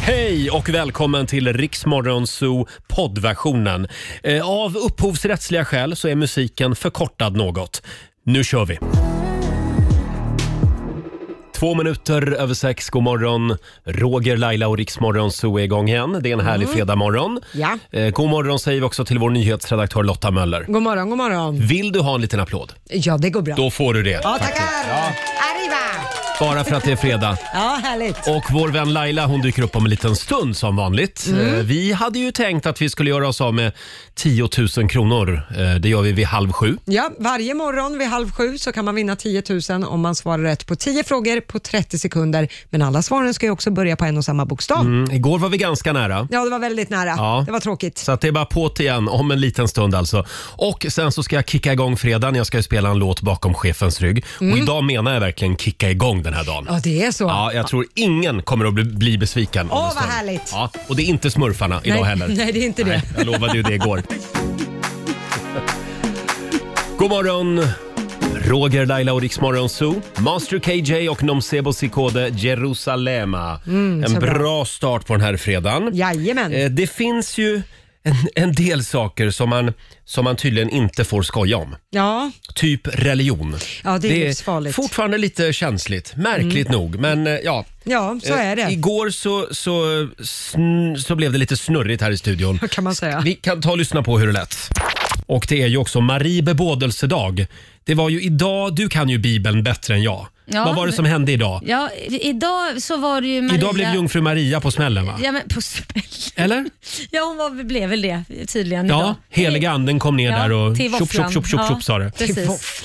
Hej och välkommen till Riksmorgon Zoo poddversionen. Eh, Av upphovsrättsliga skäl så är musiken förkortad något. Nu kör vi! Två minuter över sex, god morgon. Roger, Laila och Riksmorgon Zoo är igång igen. Det är en härlig Mm. fredagmorgon. Ja. Eh, God morgon säger vi också till vår nyhetsredaktör Lotta Möller. God morgon, god morgon. Vill du ha en liten applåd? Ja, det går bra. Då får du det. Ja, faktiskt. tackar. Arriva! Bara för att det är fredag. Ja, härligt. Och vår vän Laila hon dyker upp om en liten stund som vanligt. Mm. Eh, Vi hade ju tänkt att vi skulle göra oss av med 10 000 kronor. Eh, Det gör vi vid halv sju. Ja, varje morgon vid halv sju så kan man vinna 10 000 om man svarar rätt på 10 frågor på 30 sekunder. Men alla svaren ska ju också börja på en och samma bokstav. Mm. Igår var vi ganska nära. Ja, det var väldigt nära. Ja. Det var tråkigt. Så att det är bara på't igen om en liten stund alltså. Och sen så ska jag kicka igång fredagen. Jag ska ju spela en låt bakom chefens rygg. Och Mm. idag menar jag verkligen kicka igång den här dagen. Ja, det är så. Ja, jag tror ingen kommer att bli, bli besviken. om Åh, en vad stund. härligt. Ja, och det är inte smurfarna idag nej, heller. Nej, det är inte det. Nej, jag lovade ju det igår. God morgon! Roger, Laila och Riksmorgon Zoo. Master KJ och Nomsebo Sikode Jerusalema. Mm, en så bra. bra. start på den här fredagen. Jajamän. Eh, Det finns ju en, en del saker som man, som man tydligen inte får skoja om. Ja, Typ religion. Ja, det är livsfarligt. fortfarande lite känsligt, märkligt Mm. nog. Men eh, ja. ja så Eh, är det. Igår så, så, sn- så blev det lite snurrigt här i studion. Kan man säga. Vi kan ta och lyssna på hur det lät. Och det är ju också Marie bebådelsedag. Det var ju idag, du kan ju Bibeln bättre än jag. Ja, Vad var det men- som hände idag? Ja, i- idag så var det ju Maria... Idag blev jungfru Maria på smällen va? Ja, men på smäll. Eller? Ja, hon var, blev väl det tydligen Ja, idag. heliga anden kom ner Ja, där och till tjopp, tjopp, våfflan. tjopp, tjopp, Ja, tjopp sa det. precis.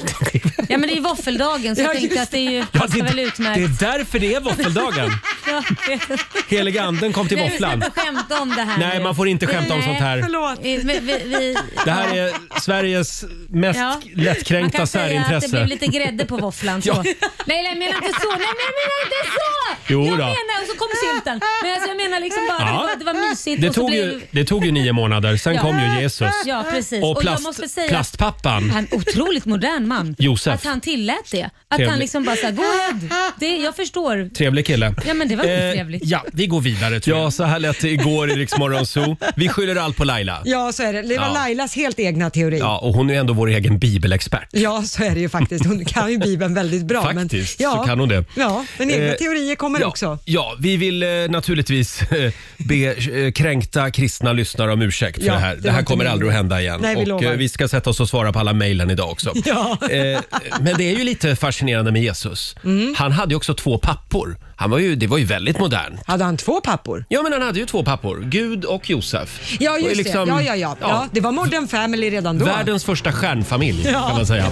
Ja, men det är ju våffeldagen så Ja, jag tänkte just att det är ju Ja, passar väl det utmärkt. är därför det är våffeldagen. Ja, det- Heliga anden kom till Nej, vi ska våfflan. inte skämta om det här Nej, nu. man får inte skämta om Nej, sånt här. Förlåt. Vi, vi, vi, Det här är Sveriges mest Ja. Man lättkränkta kan säga att det blev särintresse. lite grädde på våfflan. Så. Ja. Nej, nej, jag menar inte så. Nej, men jag menar inte så! Jo jag då. menar, och så kom sylten. Men alltså, jag menar liksom bara Ja. att det var mysigt. Det och så tog, blev... ju, det tog ju nio månader, sen Ja. kom ju Jesus. Ja, precis. Och Och jag plast, måste säga- plastpappan. Han otroligt modern man. Josef. Att han tillät det. Att Trevlig. han liksom bara såhär, go ahead. Det, jag förstår. Trevlig kille. Ja men det var Eh, eh, trevligt. Ja, vi går vidare. Ja, så här lät det igår i Rix Morgon Zoo. Vi skyller allt på Laila. Ja, så är det. Det var Ja. Lailas helt egna teori. Ja, och hon är ju ändå vår egen bibelexpert. Ja, så är det ju faktiskt. Hon kan ju Bibeln väldigt bra. Faktiskt, men, ja, så kan hon det. Ja, men egna Eh, teorier kommer ja, också. Ja, vi vill eh, naturligtvis eh, be eh, kränkta kristna lyssnare om ursäkt för Ja, det här. det Det var här inte kommer meningen. aldrig att hända igen. Nej, vi och lovar. eh, vi ska sätta oss och svara på alla mejlen idag också. Ja. Eh, men det är ju lite fascinerande med Jesus. Mm. Han hade ju också två pappor. Han var ju, det var ju väldigt modernt. Hade han två pappor? Ja, men han hade ju två pappor. Gud och Josef. Ja, Och just liksom- det. Ja, ja, ja. Ja. det var Modern Family redan då. Världens första stjärnfamilj Ja. kan man säga.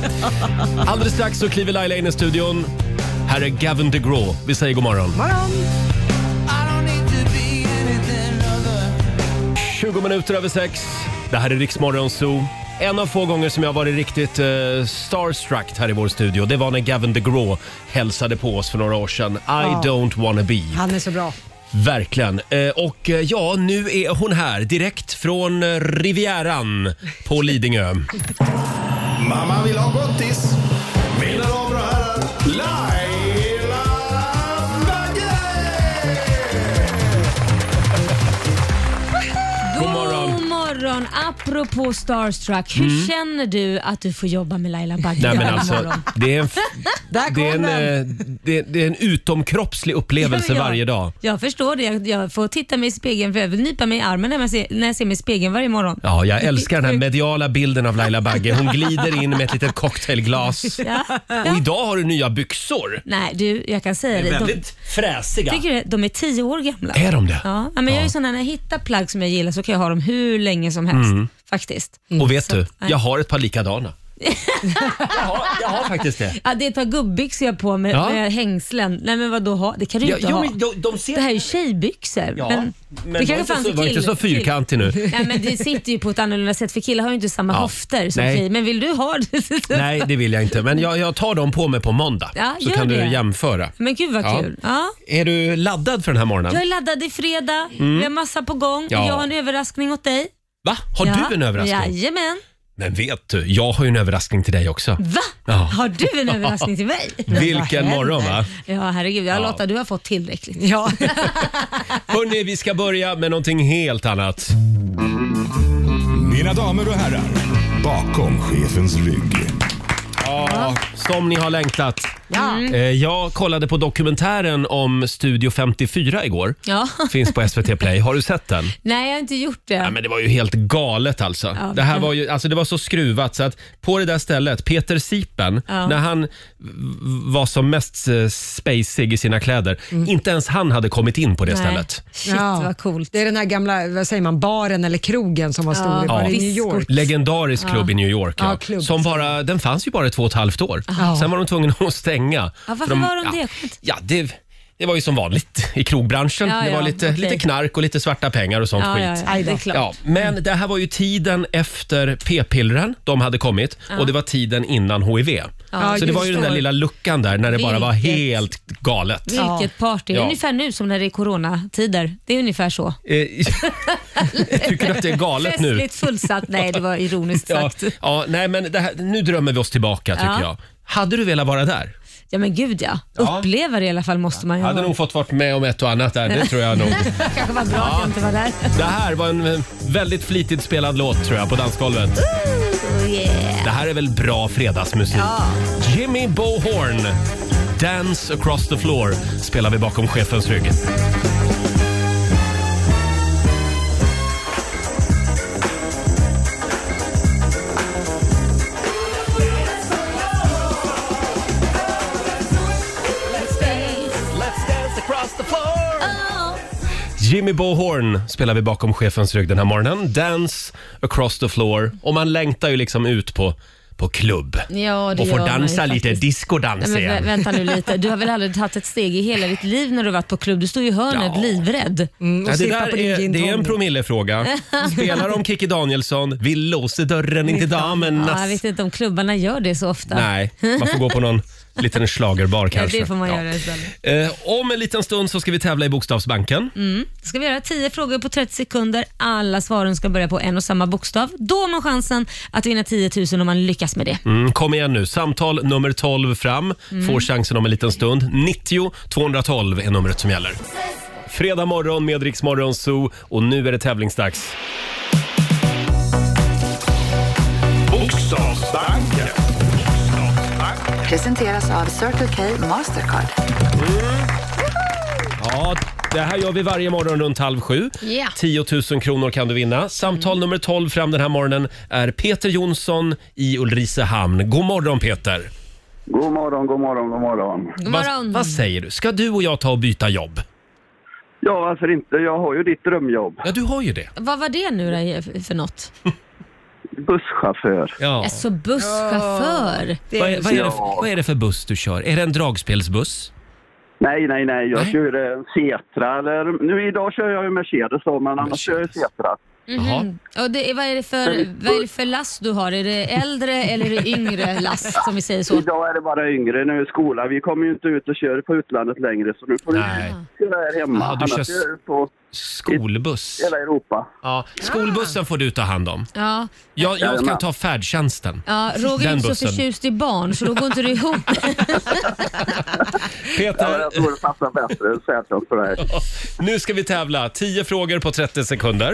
Alldeles strax så kliver Laila in i studion. Här är Gavin DeGraw. Vi säger god morgon. Morgon. 20 minuter över sex. Det här är Riksmorgon Zoo. En av få gånger som jag har varit riktigt eh, starstruck här i vår studio, det var när Gavin DeGraw hälsade på oss för några år sedan. I Ja. don't wanna be. Han är så bra. Verkligen. Eh, och eh, ja, nu är hon här direkt från eh, Rivieran på Lidingö. Mamma vill ha gottis. Mina damer och herrar, Laila God morgon. God morgon. Apropå starstruck, hur Mm. känner du att du får jobba med Laila Bagge Nej men varje alltså, morgon? det är en, f- Där det är kom en, den. eh, det, det är en utomkroppslig upplevelse Ja, ja. varje dag. Jag förstår det. Jag, jag får titta mig i spegeln, för jag vill nypa mig i armen när jag ser, när jag ser mig i spegeln varje morgon. Ja, jag älskar den här mediala bilden av Laila Bagge. Hon glider in med ett litet cocktailglas. Ja. Och idag har du nya byxor. Nej, du, jag kan säga Det dig. är De, väldigt fräsiga. tycker du, de är tio år gamla. Är de det? Ja, ja, men jag är ju sån här, när jag hittar plagg som jag gillar så kan jag ha dem hur länge som helst. Mm. Faktiskt. Och vet Så du, att, nej. jag har ett par likadana. jag, har, jag har faktiskt det. Ja, det är ett par gubbyxor jag har på mig Ja. med hängslen. Nej men vadå ha? Det kan du Ja, inte jo, ha. men de- de ser- Det här är ju tjejbyxor. Ja, men men det var kanske inte fanns så- i var inte kill- så fyrkantig nu. kill- Nej men det sitter ju på ett annorlunda sätt för killar har ju inte samma Ja. höfter som Nej. tjejer. Men vill du ha det? Nej, det vill jag inte. Men jag, jag tar dem på mig på måndag. Ja, så gör kan du det. jämföra. Men gud vad Ja. kul. Ja. Är du laddad för den här morgonen? Jag är laddad i fredag, Mm. vi har massa på gång Ja. och jag har en överraskning åt dig. Va? Har Ja. du en överraskning? Jajamän. Men vet du, jag har ju en överraskning till dig också. Va? Ja. Har du en överraskning till mig? Vilken morgon va? Ja, herregud. Ja, Ja. Lotta, du har fått tillräckligt. Ja. Hörni, vi ska börja med någonting helt annat. Mina damer och herrar, bakom chefens rygg. Ja, som ni har längtat. Mm. Eh, Jag kollade på dokumentären om Studio 54 igår. Ja. Finns på SVT Play. Har du sett den? Nej, jag har inte gjort det. Ja, men det var ju helt galet alltså. Ja. Det här var ju, alltså det var så skruvat så att på det där stället, Peter Sipen, Ja. när han v- var som mest eh, spacig i sina kläder, Mm. inte ens han hade kommit in på det stället. Shit, vad coolt. Det är den här gamla, vad säger man, baren eller krogen som var stor Ja, var det i ja. New York. Legendarisk klubb i New York. Ja, Ja, klubb. som bara, den fanns ju bara i två och ett halvt år. Sen var de tvungna att stänga. varför För de, var de det? Ja, Jag kommer inte- ja, det, det var ju som vanligt i krogbranschen. Ja, det var ja, lite, okej. lite knark och lite svarta pengar och sånt Ja, skit. ja, ja, Aj det då. är klart. Mm. Ja, men det här var ju tiden efter p-pillren, de hade kommit, och det var tiden innan HIV. Ja, så det var ju just den där det. lilla luckan där när det bara var Vilket- helt galet. Vilket party. Ja. Ungefär nu som när det är coronatider. Det är ungefär så. Eh, Tycker du att det är galet nu? Festligt fullsatt. Nej, det var ironiskt Ja, sagt. ja, nej, men det här, nu drömmer vi oss tillbaka tycker Ja. jag. Hade du velat vara där? Ja, men gud ja. Ja. Uppleva det i alla fall måste man ju. Hade ha. nog fått vara med om ett och annat där, det tror jag nog. kanske var bra att jag inte var där. Det här var en eh, väldigt flitigt spelad låt tror jag på dansgolvet. Det här är väl bra fredagsmusik? Jimmy Bohorn, Dance across the floor, spelar vi bakom chefens rygg. Jimmy Bohorn spelar vi bakom chefens rygg den här morgonen. Dance across the floor. Och man längtar ju liksom ut på, på klubb. Ja, det och får gör man ju dansa lite faktiskt. discodans Nej, men vä- igen. vänta nu lite. Du har väl aldrig tagit ett steg i hela ditt liv när du varit på klubb? Du står ju i hörnet Ja. Mm. livrädd. och Ja, det, sippa där på din är, gin det är en tonic. promillefråga. Spelar om Kikki Danielsson, vi låser dörren in till Ja, jag damernas. vet inte om klubbarna gör det så ofta. Nej, man får gå på någon liten schlagerbar Ja, kanske. det får man Ja. göra istället. Eh, om en liten stund så ska vi tävla i Bokstavsbanken. Då ska vi göra 10 frågor på 30 sekunder. Alla svaren ska börja på en och samma bokstav. Då har man chansen att vinna 10 000 om man lyckas med det. Mm, kom igen nu, samtal nummer 12 fram. Får chansen om en liten stund. 90 212 är numret som gäller. Fredag morgon med Rix Morgon Zoo och nu är det tävlingsdags. Bokstavsbanken. Presenteras av Circle K Mastercard. Ja, det här gör vi varje morgon runt halv sju. Ja. 10 000 kronor kan du vinna. Samtal nummer 12 fram den här morgonen är Peter Jonsson i Ulricehamn. God morgon Peter! God morgon, god morgon, god morgon. God Vad- morgon. vad säger du? Ska du och jag ta och byta jobb? Ja, varför inte? Jag har ju ditt drömjobb. Ja, du har ju det. Vad var det nu då för något? Busschaufför. Ja. Alltså busschaufför. Vad, är, vad, är det, Ja. vad är det för buss du kör? Är det en dragspelsbuss? Nej, nej, nej. Jag Nej. kör en Setra. Eller, nu idag kör jag ju Mercedes då, men annars kör jag Setra. Mhm. Jaha. Mm. Och det, är- vad, är det för, Mm. vad är det för last du har? Är det äldre eller är det yngre last som vi säger så? Idag är det bara yngre. Nu är skola. Vi kommer ju inte ut och kör på utlandet längre, så nu får du Nej. köra här hemma. Ja, du annars kör- kör du på Skolbuss. hela Europa. Ja, Ah. skolbussen får du ta hand om. Ja, Jag, jag kan Jajamän. ta färdtjänsten. ja Roger är Den inte så bussen. förtjust i barn så då går inte det ihop. Ja, men Peter, jag tror det passar bättre Sätran för dig. nu ska vi tävla. 10 frågor på 30 sekunder.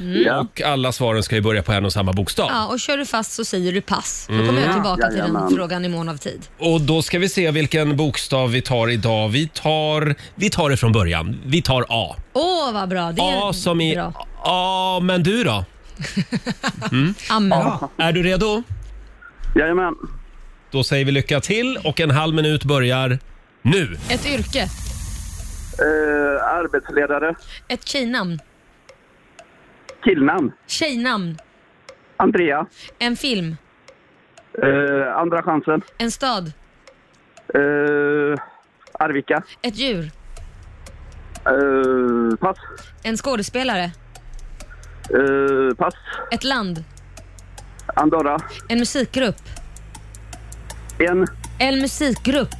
Mm. Ja. Och alla svaren ska ju börja på en och samma bokstav. Ja, och kör du fast så säger du pass. Då kommer jag Mm. tillbaka till den Jajamän. frågan i mån av tid. Och då ska vi se vilken bokstav vi tar idag. Vi tar, vi tar det från början. Vi tar A. Åh, vad bra. Det är A som i... bra. A, men du då? Amen. Är du redo? Jajamän. Då säger vi lycka till och en halv minut börjar nu. Ett yrke. Eh, arbetsledare. Ett tjejnamn. Killnamn. Tjejnamn. Andrea. En film. Eh, andra chansen. En stad. Eh, Arvika. Ett djur. Eh, pass. En skådespelare. Eh, pass. Ett land. Andorra. En musikgrupp. En. En musikgrupp.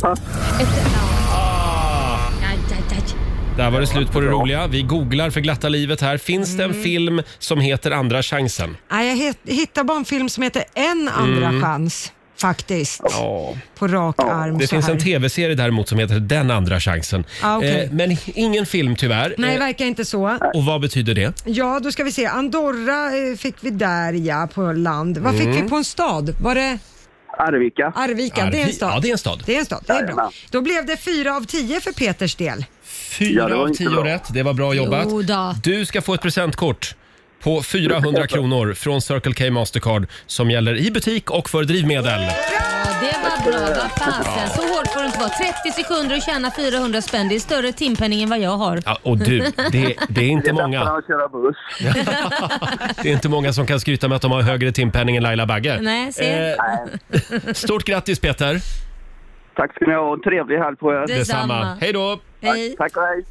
Pass. Ah. Ett... Ja. Aj, aj, aj. Där var det slut på det roliga. Vi googlar för glatta livet här. Finns det Mm. en film som heter Andra chansen? Nej, jag het- hittar bara en film som heter En andra chans, faktiskt. Mm. Ja. På rak arm Det så finns här. en tv-serie däremot som heter Den andra chansen. Ah, okej. Eh, Men ingen film tyvärr. Nej, Eh, verkar inte så. Och vad betyder det? Ja, då ska vi se. Andorra eh, fick vi där ja, på land. Vad fick vi Mm. på en stad? Var det Arvika. Arvika? det är en Arvi- stad. Ja, det är en stad. Det är en stad, det är bra. Jajamän. Då blev det fyra av tio för Peters del. Fyra Ja, det var av inte tio bra. rätt. Det var bra jobbat. Jo då. Du ska få ett presentkort på 400 kronor från Circle K Mastercard som gäller i butik och för drivmedel. Ja, det var bra. Vad fasen. Så hårt får det inte vara. 30 sekunder och tjäna 400 spänn. Det är större timpenning än vad jag har. Ja, och du, det, det är inte lättare många. att köra buss. Det är inte många som kan skryta med att de har högre timpenning än Laila Bagge. Nej, se. Eh, stort grattis Peter. Tack ska ni ha och en trevlig helg på er. Detsamma. Hej då. Hej. Tack och hej.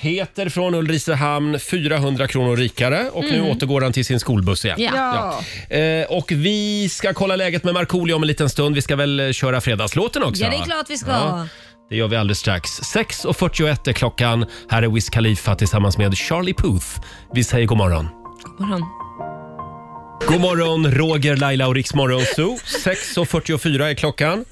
hej. Peter från Ulricehamn, 400 kronor rikare och nu återgår han till sin skolbuss igen. Mm. Ja. Ja. Eh, och vi ska kolla läget med Markoolio om en liten stund. Vi ska väl eh, köra fredagslåten också? Ja, det är klart vi ska. Ja, det gör vi alldeles strax. 6.41 är klockan. Här är Wiz Khalifa tillsammans med Charlie Puth. Vi säger god morgon. God morgon. God morgon, Roger, Laila och Riksmorgon Zoo. 6.44 är klockan.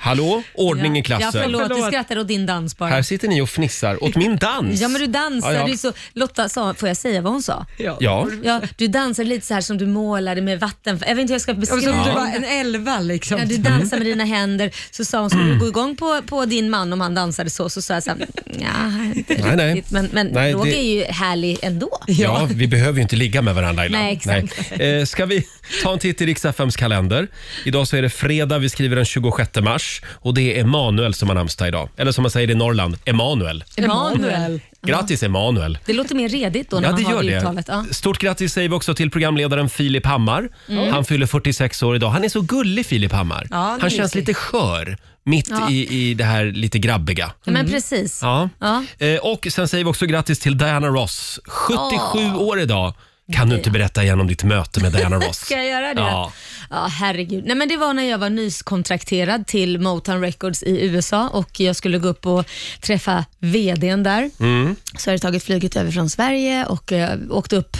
Hallå, ordning i Ja, klassen. förlåt, Förlåt. vi skrattar åt din dans bara. Här sitter ni och fnissar åt min dans. Ja, men du dansar. Ja, ja. Du är så, Lotta sa, får jag säga vad hon sa? Ja, Ja, du dansar lite så här som du målade med vatten. Jag vet inte hur jag ska Och beskriva som du det. var en elva liksom. Ja, du dansar Mm. med dina händer. Så sa hon, skulle du gå igång på, på din man om han dansade så? Så sa jag så här, "Nja, inte Nej, nej. riktigt. Men, men Nej, Roger det- är ju härlig ändå. Ja, vi behöver ju inte ligga med varandra Laila. Nej, exakt. Nej. Eh, ska vi ta en titt i Riks-FMs kalender? Idag så är det fredag, vi skriver den 26 mars och det är Emanuel som har namnsdag idag. Eller som man säger i Norrland, Emanuel. Emanuel. Grattis Emanuel! Det låter mer redigt då när Ja, det man gör har det. Mm. uttalet. Ja. Stort grattis säger vi också till programledaren Filip Hammar. Mm. Han fyller 46 år idag. Han är så gullig Filip Hammar. han är han känns mysig. lite skör mitt i, i det här lite grabbiga. Ja, men precis. Ja. Ja. Eh, och sen säger vi också grattis till Diana Ross. 77 år idag. Kan du inte berätta igen om ditt möte med Diana Ross? Ska jag göra det? Ja. Ja, herregud. Nej, men det var när jag var nyskontrakterad till Motown Records i USA och jag skulle gå upp och träffa VDn där. Mm. Så hade jag tagit flyget över från Sverige och eh, åkte upp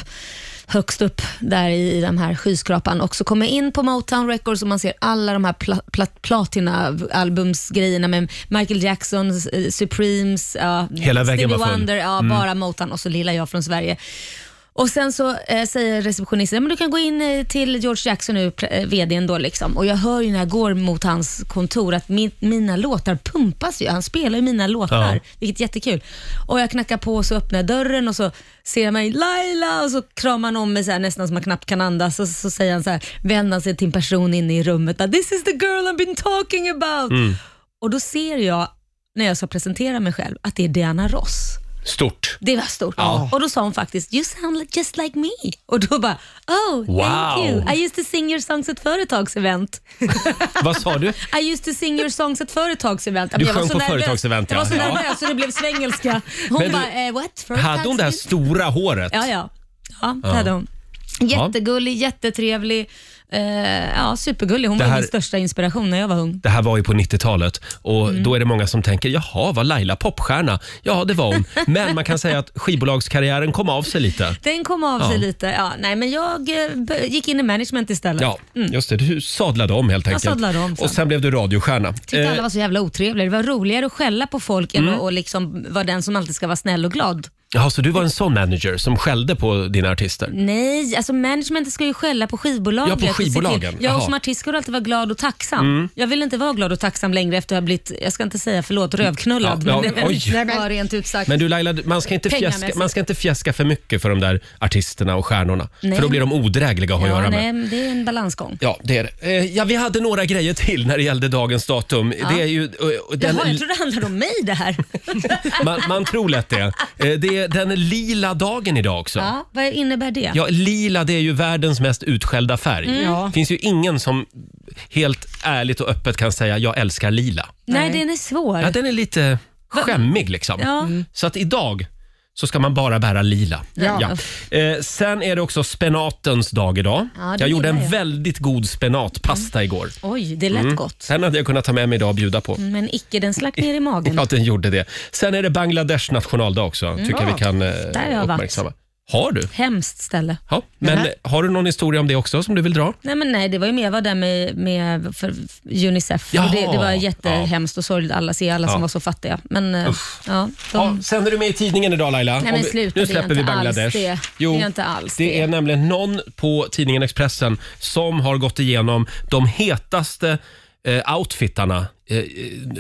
högst upp där i, i den här skyskrapan och så kommer jag in på Motown Records och man ser alla de här pla, pla, platina-albumsgrejerna med Michael Jacksons, eh, Supremes, ja, Hela vägen Stevie var full. Mm. Wonder, ja, bara Motown och så lilla jag från Sverige. Och Sen så eh, säger receptionisten "Ja, men du kan gå in eh, till George Jackson nu, pre- eh, vdn. Då, liksom. Och jag hör ju när jag går mot hans kontor att min, mina låtar pumpas. Ju. Han spelar ju mina låtar, Ja. vilket är jättekul. Och Jag knackar på och så öppnar jag dörren och så ser jag mig Laila och så kramar han om mig så här, nästan som man knappt kan andas. Och så, så säger han så här, vänder han sig till en person inne i rummet. bara, This is the girl I've been talking about. Och Då ser jag, när jag ska presentera mig själv, att det är Diana Ross. Stort. Det var stort. Och då sa hon faktiskt, you sound li- just like me. Och då bara, oh, Wow. thank you. I used to sing your songs at företagsevent. Vad sa du? I used to sing your songs at företagsevent. Du Men jag var sjöng så på nervös. företagsevent, Jag var så ja. nervös så det blev svengelska. Hon Men du- bara, eh, what? Hade hon det här Företagsevent?" stora håret? Ja, ja. Ja, det hade hon. Jättegullig, jättetrevlig. Eh, ja, supergullig. Hon Det var här- min största inspiration när jag var ung. Det här var ju på 90-talet och Mm. då är det många som tänker, jaha, var Laila popstjärna? Ja, det var hon. Men man kan säga att skivbolagskarriären kom av sig lite. Den kom av Ja. sig lite. Ja, nej, men jag eh, b- gick in i management istället. Ja, just det. Du sadlade om helt enkelt. sadlade om sen. Och sen blev du radiostjärna. tyckte Eh, Mm. alla var så jävla otrevliga. Det var roligare att skälla på folk än att och liksom vara den som alltid ska vara snäll och glad. Jaha, så du var en sån manager som skällde på dina artister? Nej, alltså managementet ska ju skälla på skivbolaget. Ja, på och se till- skivbolagen. Jag Jaha. Mm. som artist ska du alltid vara glad och tacksam. Jag vill inte vara glad och tacksam längre efter att ha blivit, jag ska inte säga förlåt, rövknullad. Ja, ja, men det oj. var rent ut sagt. Men du Laila, man ska, inte fjäska, Pengamässigt. man ska inte fjäska för mycket för de där artisterna och stjärnorna. Nej. För då blir de odrägliga att ha att ja, göra nej, med. men det är en balansgång. Ja, det är det. Eh, Ja, vi hade några grejer till när det gällde dagens datum. Det är ju, eh, den, Jaha, jag tror det handlar om mig det här. man, man tror lätt det. Eh, Det är den lila dagen idag också. Ja. ja, Mm. vad innebär det? lila det är ju världens mest utskällda färg. Det finns ju ingen som helt ärligt och öppet kan säga jag älskar lila. nej, den är svår. Ja, den är lite skämmig liksom. Ja. Så att idag så ska man bara bära lila. Ja. Eh, sen är det också spenatens dag idag. Ja, det jag gjorde en gillar jag. väldigt god spenatpasta igår. Oj, det lät Mm. gott. Sen hade jag kunnat ta med mig idag och bjuda på. Men icke, den slack ner i magen. Ja, den gjorde det. Sen är det Bangladesh nationaldag också, tycker jag vi kan eh, Mm. har jag varit. uppmärksamma. Har du? Hemskt ställe. Ja, men Nähä. har du någon historia om det också som du vill dra? Nej, men nej, det var ju mer, jag var där med, med för Unicef. Jaha. Och det, det var jättehemskt och sorgligt alla, se alla Ja. som var så fattiga. Men eh, ja, Ja, de, sen är du med i tidningen idag Laila. men Om vi- sluta, nu det är släpper inte vi alls Bangladesh. det. Det är inte alls det det. är nämligen någon på tidningen Expressen som har gått igenom de hetaste eh, outfitarna eh, eh,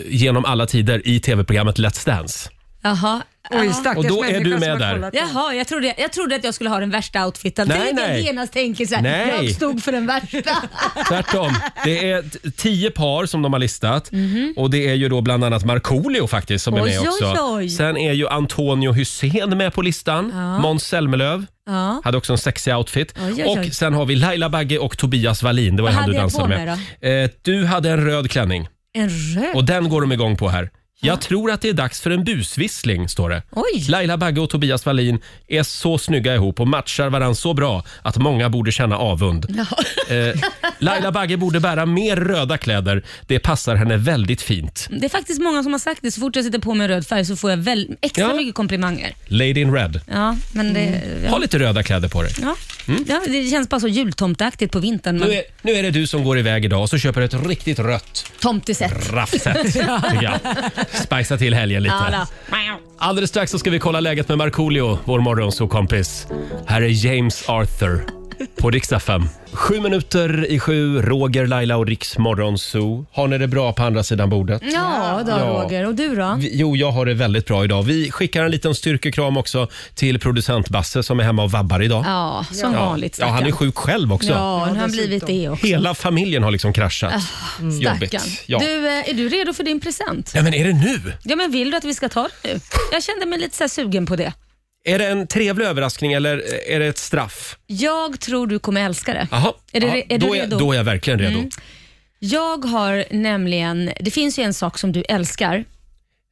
genom alla tider i tv-programmet Let's Dance. jaha. Oj, Ja. stackars Och då är människa du som med har där. kollat på. Jaha, jag trodde, jag trodde att jag skulle ha den värsta outfiten. Nej, det är det nej. jag genast tänker så här, Nej. jag stod för den värsta. Tvärtom. Det är t- tio par som de har listat. Och Det är ju då bland annat Markoolio faktiskt som är Mhm. Oj, med oj, också. oj. Sen är ju Antonio Hysén med på listan. Måns Zelmerlöw Ja. hade också en sexig outfit. Oj, oj, oj. Och sen har vi Laila Bagge och Tobias Wallin. Det var Vad han du hade jag dansade på med. mig Eh, du hade en röd klänning En röd? och den går de igång på här. Jag tror att det är dags för en busvissling, står det. Oj. Laila Bagge och Tobias Wallin är så snygga ihop och matchar varandra så bra att många borde känna avund. Eh, Laila Bagge borde bära mer röda kläder. Det passar henne väldigt fint. Det är faktiskt många som har sagt det. Så fort jag sätter på mig röd färg så får jag väl, extra Ja. Mm. mycket komplimanger. Lady in red. Ja, men det, ja. Ha lite röda kläder på dig. Ja. Ja, det känns bara så jultomteaktigt på vintern. Men Nu är, nu är det Mm. du som går iväg idag och så köper du ett riktigt rött Tomtesätt. raffset. tycker jag. Spicea till helgen Ja, lite. då. Alldeles strax så ska vi kolla läget med Markoolio, vår morgonsåkompis. Här är James Arthur på riksdag 5. Sju minuter i sju, Roger, Laila och Riks Morgonzoo. Har ni det bra på andra sidan bordet? Mm. ja då Roger. Och du då? Vi- Jo, jag har det väldigt bra idag. Vi skickar en liten styrkekram också till producent Basse som är hemma och vabbar idag. Ja, som vanligt. ja, han är stackarn. sjuk själv också. Ja, nu har han dessutom. blivit det också. Hela familjen har liksom kraschat. Jobbigt. Stackarn. Ja. Du, eh, är du redo för din present? Nej, men är det nu? Ja, men vill du att vi ska ta det nu? Jag kände mig lite så här sugen på det. Är det en trevlig överraskning eller är det ett straff? Jag tror du kommer älska det. Jaha, Är du, Ja, re- är du då, redo? Mm. Är, då är jag verkligen redo. Jag har nämligen, det finns ju en sak som du älskar.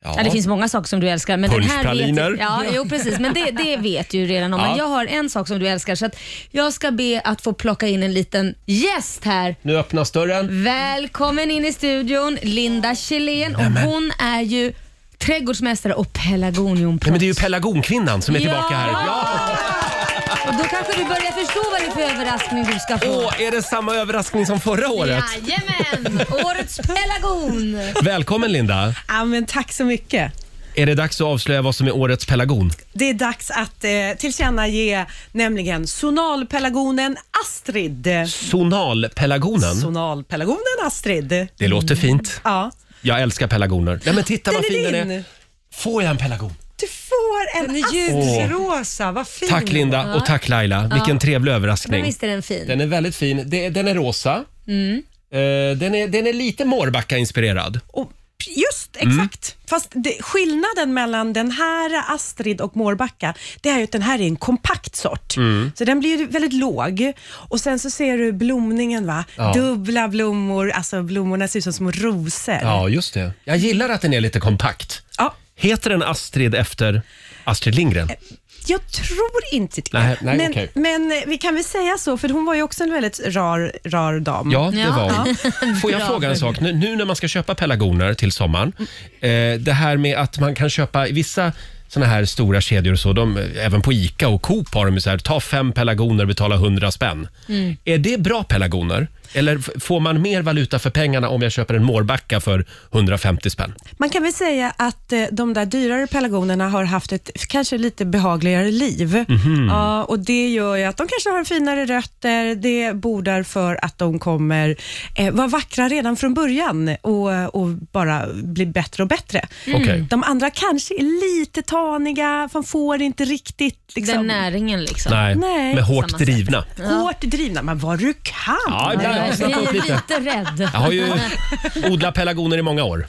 Ja. det finns många saker som du älskar. Men den här vet, Punschpraliner. ja, jo, precis. Men det, det vet du ju redan om. Ja. Men jag har en sak som du älskar. Så att jag ska be att få plocka in en liten gäst här. Nu öppnas Mm. dörren. Välkommen in i studion, Linda Kjellén. Och hon är ju trädgårdsmästare och pelargoniumproffs. Nej, men det är ju pelargonkvinnan som är Ja! tillbaka här. Ja! Och då kanske du börjar förstå vad det är för överraskning du ska få. Åh, är det samma överraskning som förra året? Jajamän! Årets pelargon. Välkommen Linda. Ja, men tack så mycket. Är det dags att avslöja vad som är årets pelargon? Det är dags att eh, tillkännage nämligen sonalpelargonen Astrid. Sonalpelargonen. Sonalpelargonen Astrid. det Mm. låter fint. Ja, Jag älskar pelargoner. Nej, men titta Den vad är fin den din. är. Får jag en pelargon? du får en Den är Astrid. ljusrosa, vad fin. Tack Linda och tack Laila. Vilken trevlig Men överraskning. visst är den fin? Den är väldigt fin. Det- Den är rosa. Eh, Den är, den är lite Mårbacka-inspirerad. Och Just Mm. exakt. Fast det, skillnaden mellan den här Astrid och Mårbacka, det är ju att den här är en kompakt sort. Mm. Så den blir ju väldigt låg. Och sen så ser du blomningen va? Ja. Dubbla blommor, alltså blommorna ser ut som små rosor. Ja, just det. Jag gillar att den är lite kompakt. Ja, Heter den Astrid efter Astrid Lindgren? Jag tror inte det. Nej, nej, men, okej. men eh, vi kan väl säga så, för hon var ju också en väldigt rar, rar dam. Ja, det Ja. var hon. Får jag Bra. fråga en sak? Nu, nu när man ska köpa pelargoner till sommaren, eh, det här med att man kan köpa i vissa såna här stora kedjor och så, de, eh, även på ICA och Coop har de ju så här, ta fem pelargoner, betala 100 spänn. Mm. Är det bra pelargoner? Eller f- får man mer valuta för pengarna om jag köper en mårbacka för 150 spänn? Man kan väl säga att eh, de där dyrare pelargonerna har haft ett kanske lite behagligare liv. Mhm. Ja, och Det gör ju att de kanske har finare rötter. Det bordar för att de kommer eh, vara vackra redan från början och, och bara bli bättre och bättre. Mm. Okej. De andra kanske är lite taniga, man får inte riktigt liksom, Den näringen liksom. Nej, Nej. men hårt Samma sätt. drivna. hårt drivna. Men vad du kan! Ja, ibland har jag Jag snappat upp är lite. lite rädd. Jag har ju odlat pelargoner i många år.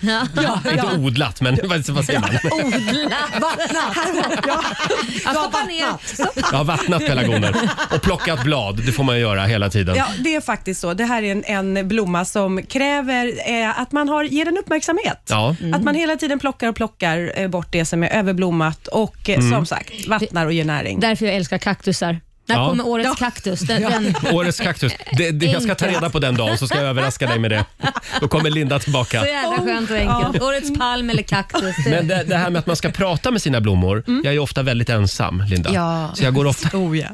Inte odlat, men vad vad säger man? Jag stoppar ner. Stopp. Jag har vattnat pelargoner och plockat blad. Det får man ju göra hela tiden. Ja, det är faktiskt så. Det här är en, en blomma som kräver eh, att man har, ger den uppmärksamhet. Ja. Att man hela tiden plockar och plockar eh, bort det som är överblommat blommat och eh, som sagt vattnar och ger näring. Därför jag älskar kaktusar. När Ja. kommer årets kaktus? Den, den, Årets kaktus. Det, det, jag ska ta Enkelt. reda på den dagen så ska jag överraska dig med det. Då kommer Linda tillbaka. så jävla skönt och enkelt. Årets palm eller kaktus. Det, Men det, det här med att man ska prata med sina blommor. Jag är ofta väldigt ensam, Linda. Mm. Ja. Så jag går ofta, Oh, ja.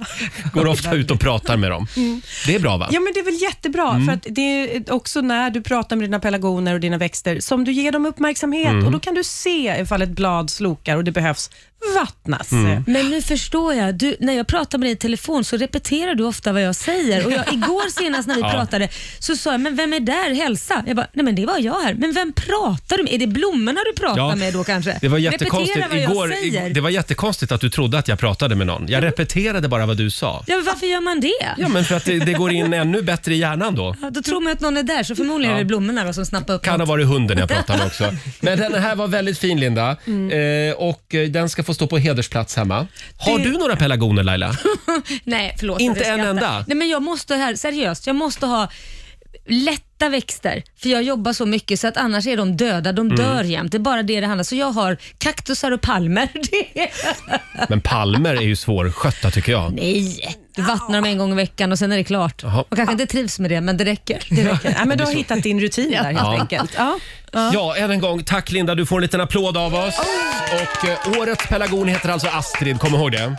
går ofta ut och pratar med dem. Mm. Det är bra va? Ja, men det är väl jättebra, för att det är också när du pratar med dina pelargoner och dina växter som du ger dem uppmärksamhet och då kan du se ifall ett blad slokar och det behövs vattnas. Men nu förstår jag. Du, när jag pratar med dig i telefon så repeterar du ofta vad jag säger. Och jag, igår senast när vi Ja. pratade så sa jag, men vem är där? Hälsa. Jag bara, nej men det var jag här. Men vem pratar du med? Är det blommorna du pratar Ja, med då kanske? Det var Repetera jättekonstigt. vad jag Igår, säger. Mm. ig- det var jättekonstigt att du trodde att jag pratade med någon. Jag repeterade bara vad du sa. Ja, men varför gör man det? Ja, men för att det, det går in ännu bättre i hjärnan då. Ja, Då tror man att någon är där, så förmodligen är det blommorna då som snappar upp Kan ha något. varit hunden jag pratade med också. Men den här var väldigt fin Linda. Eh, och eh, den ska få stå på hedersplats hemma. Har du några pelargoner Laila? Nej, förlåt. Inte jag en skrattar. enda? Nej, men jag måste här, seriöst, jag måste ha lätta växter, för jag jobbar så mycket så att annars är de döda, Mm. de dör jämt. Det är bara det det handlar om. Så jag har kaktusar och palmer. Det är... Men palmer är ju svårskötta tycker jag. Nej, du vattnar dem en gång i veckan och sen är det klart. Jaha. Och kanske inte trivs med det, men det räcker. Det räcker. Ja, men du har hittat din rutin där helt enkelt. Ja. Ja, än en gång. Tack Linda, du får en liten applåd av oss. Och eh, årets pelargon heter alltså Astrid, kom ihåg det.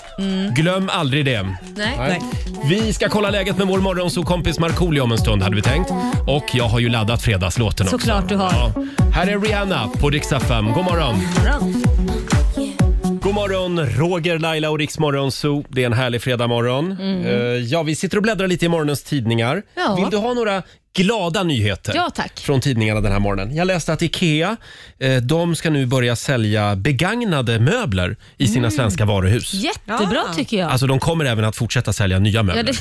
Glöm aldrig det. Nej. Nej. Vi ska kolla läget med vår morgonsokompis Markoolio om en stund hade vi tänkt. Och jag har ju laddat fredagslåten också. Såklart du har. Ja. Här är Rihanna på Rix FM. God morgon! God morgon, Roger, Laila och Rix Morgonzoo. Det är en härlig fredagmorgon. Eh, ja, vi sitter och bläddrar lite i morgonens tidningar. Mm. Ja. Vill du ha några glada nyheter? Ja, tack. Från tidningarna den här morgonen. Jag läste att IKEA, eh, de ska nu börja sälja begagnade möbler i sina Mm. svenska varuhus. Jättebra tycker jag. Alltså de kommer även att fortsätta sälja nya möbler.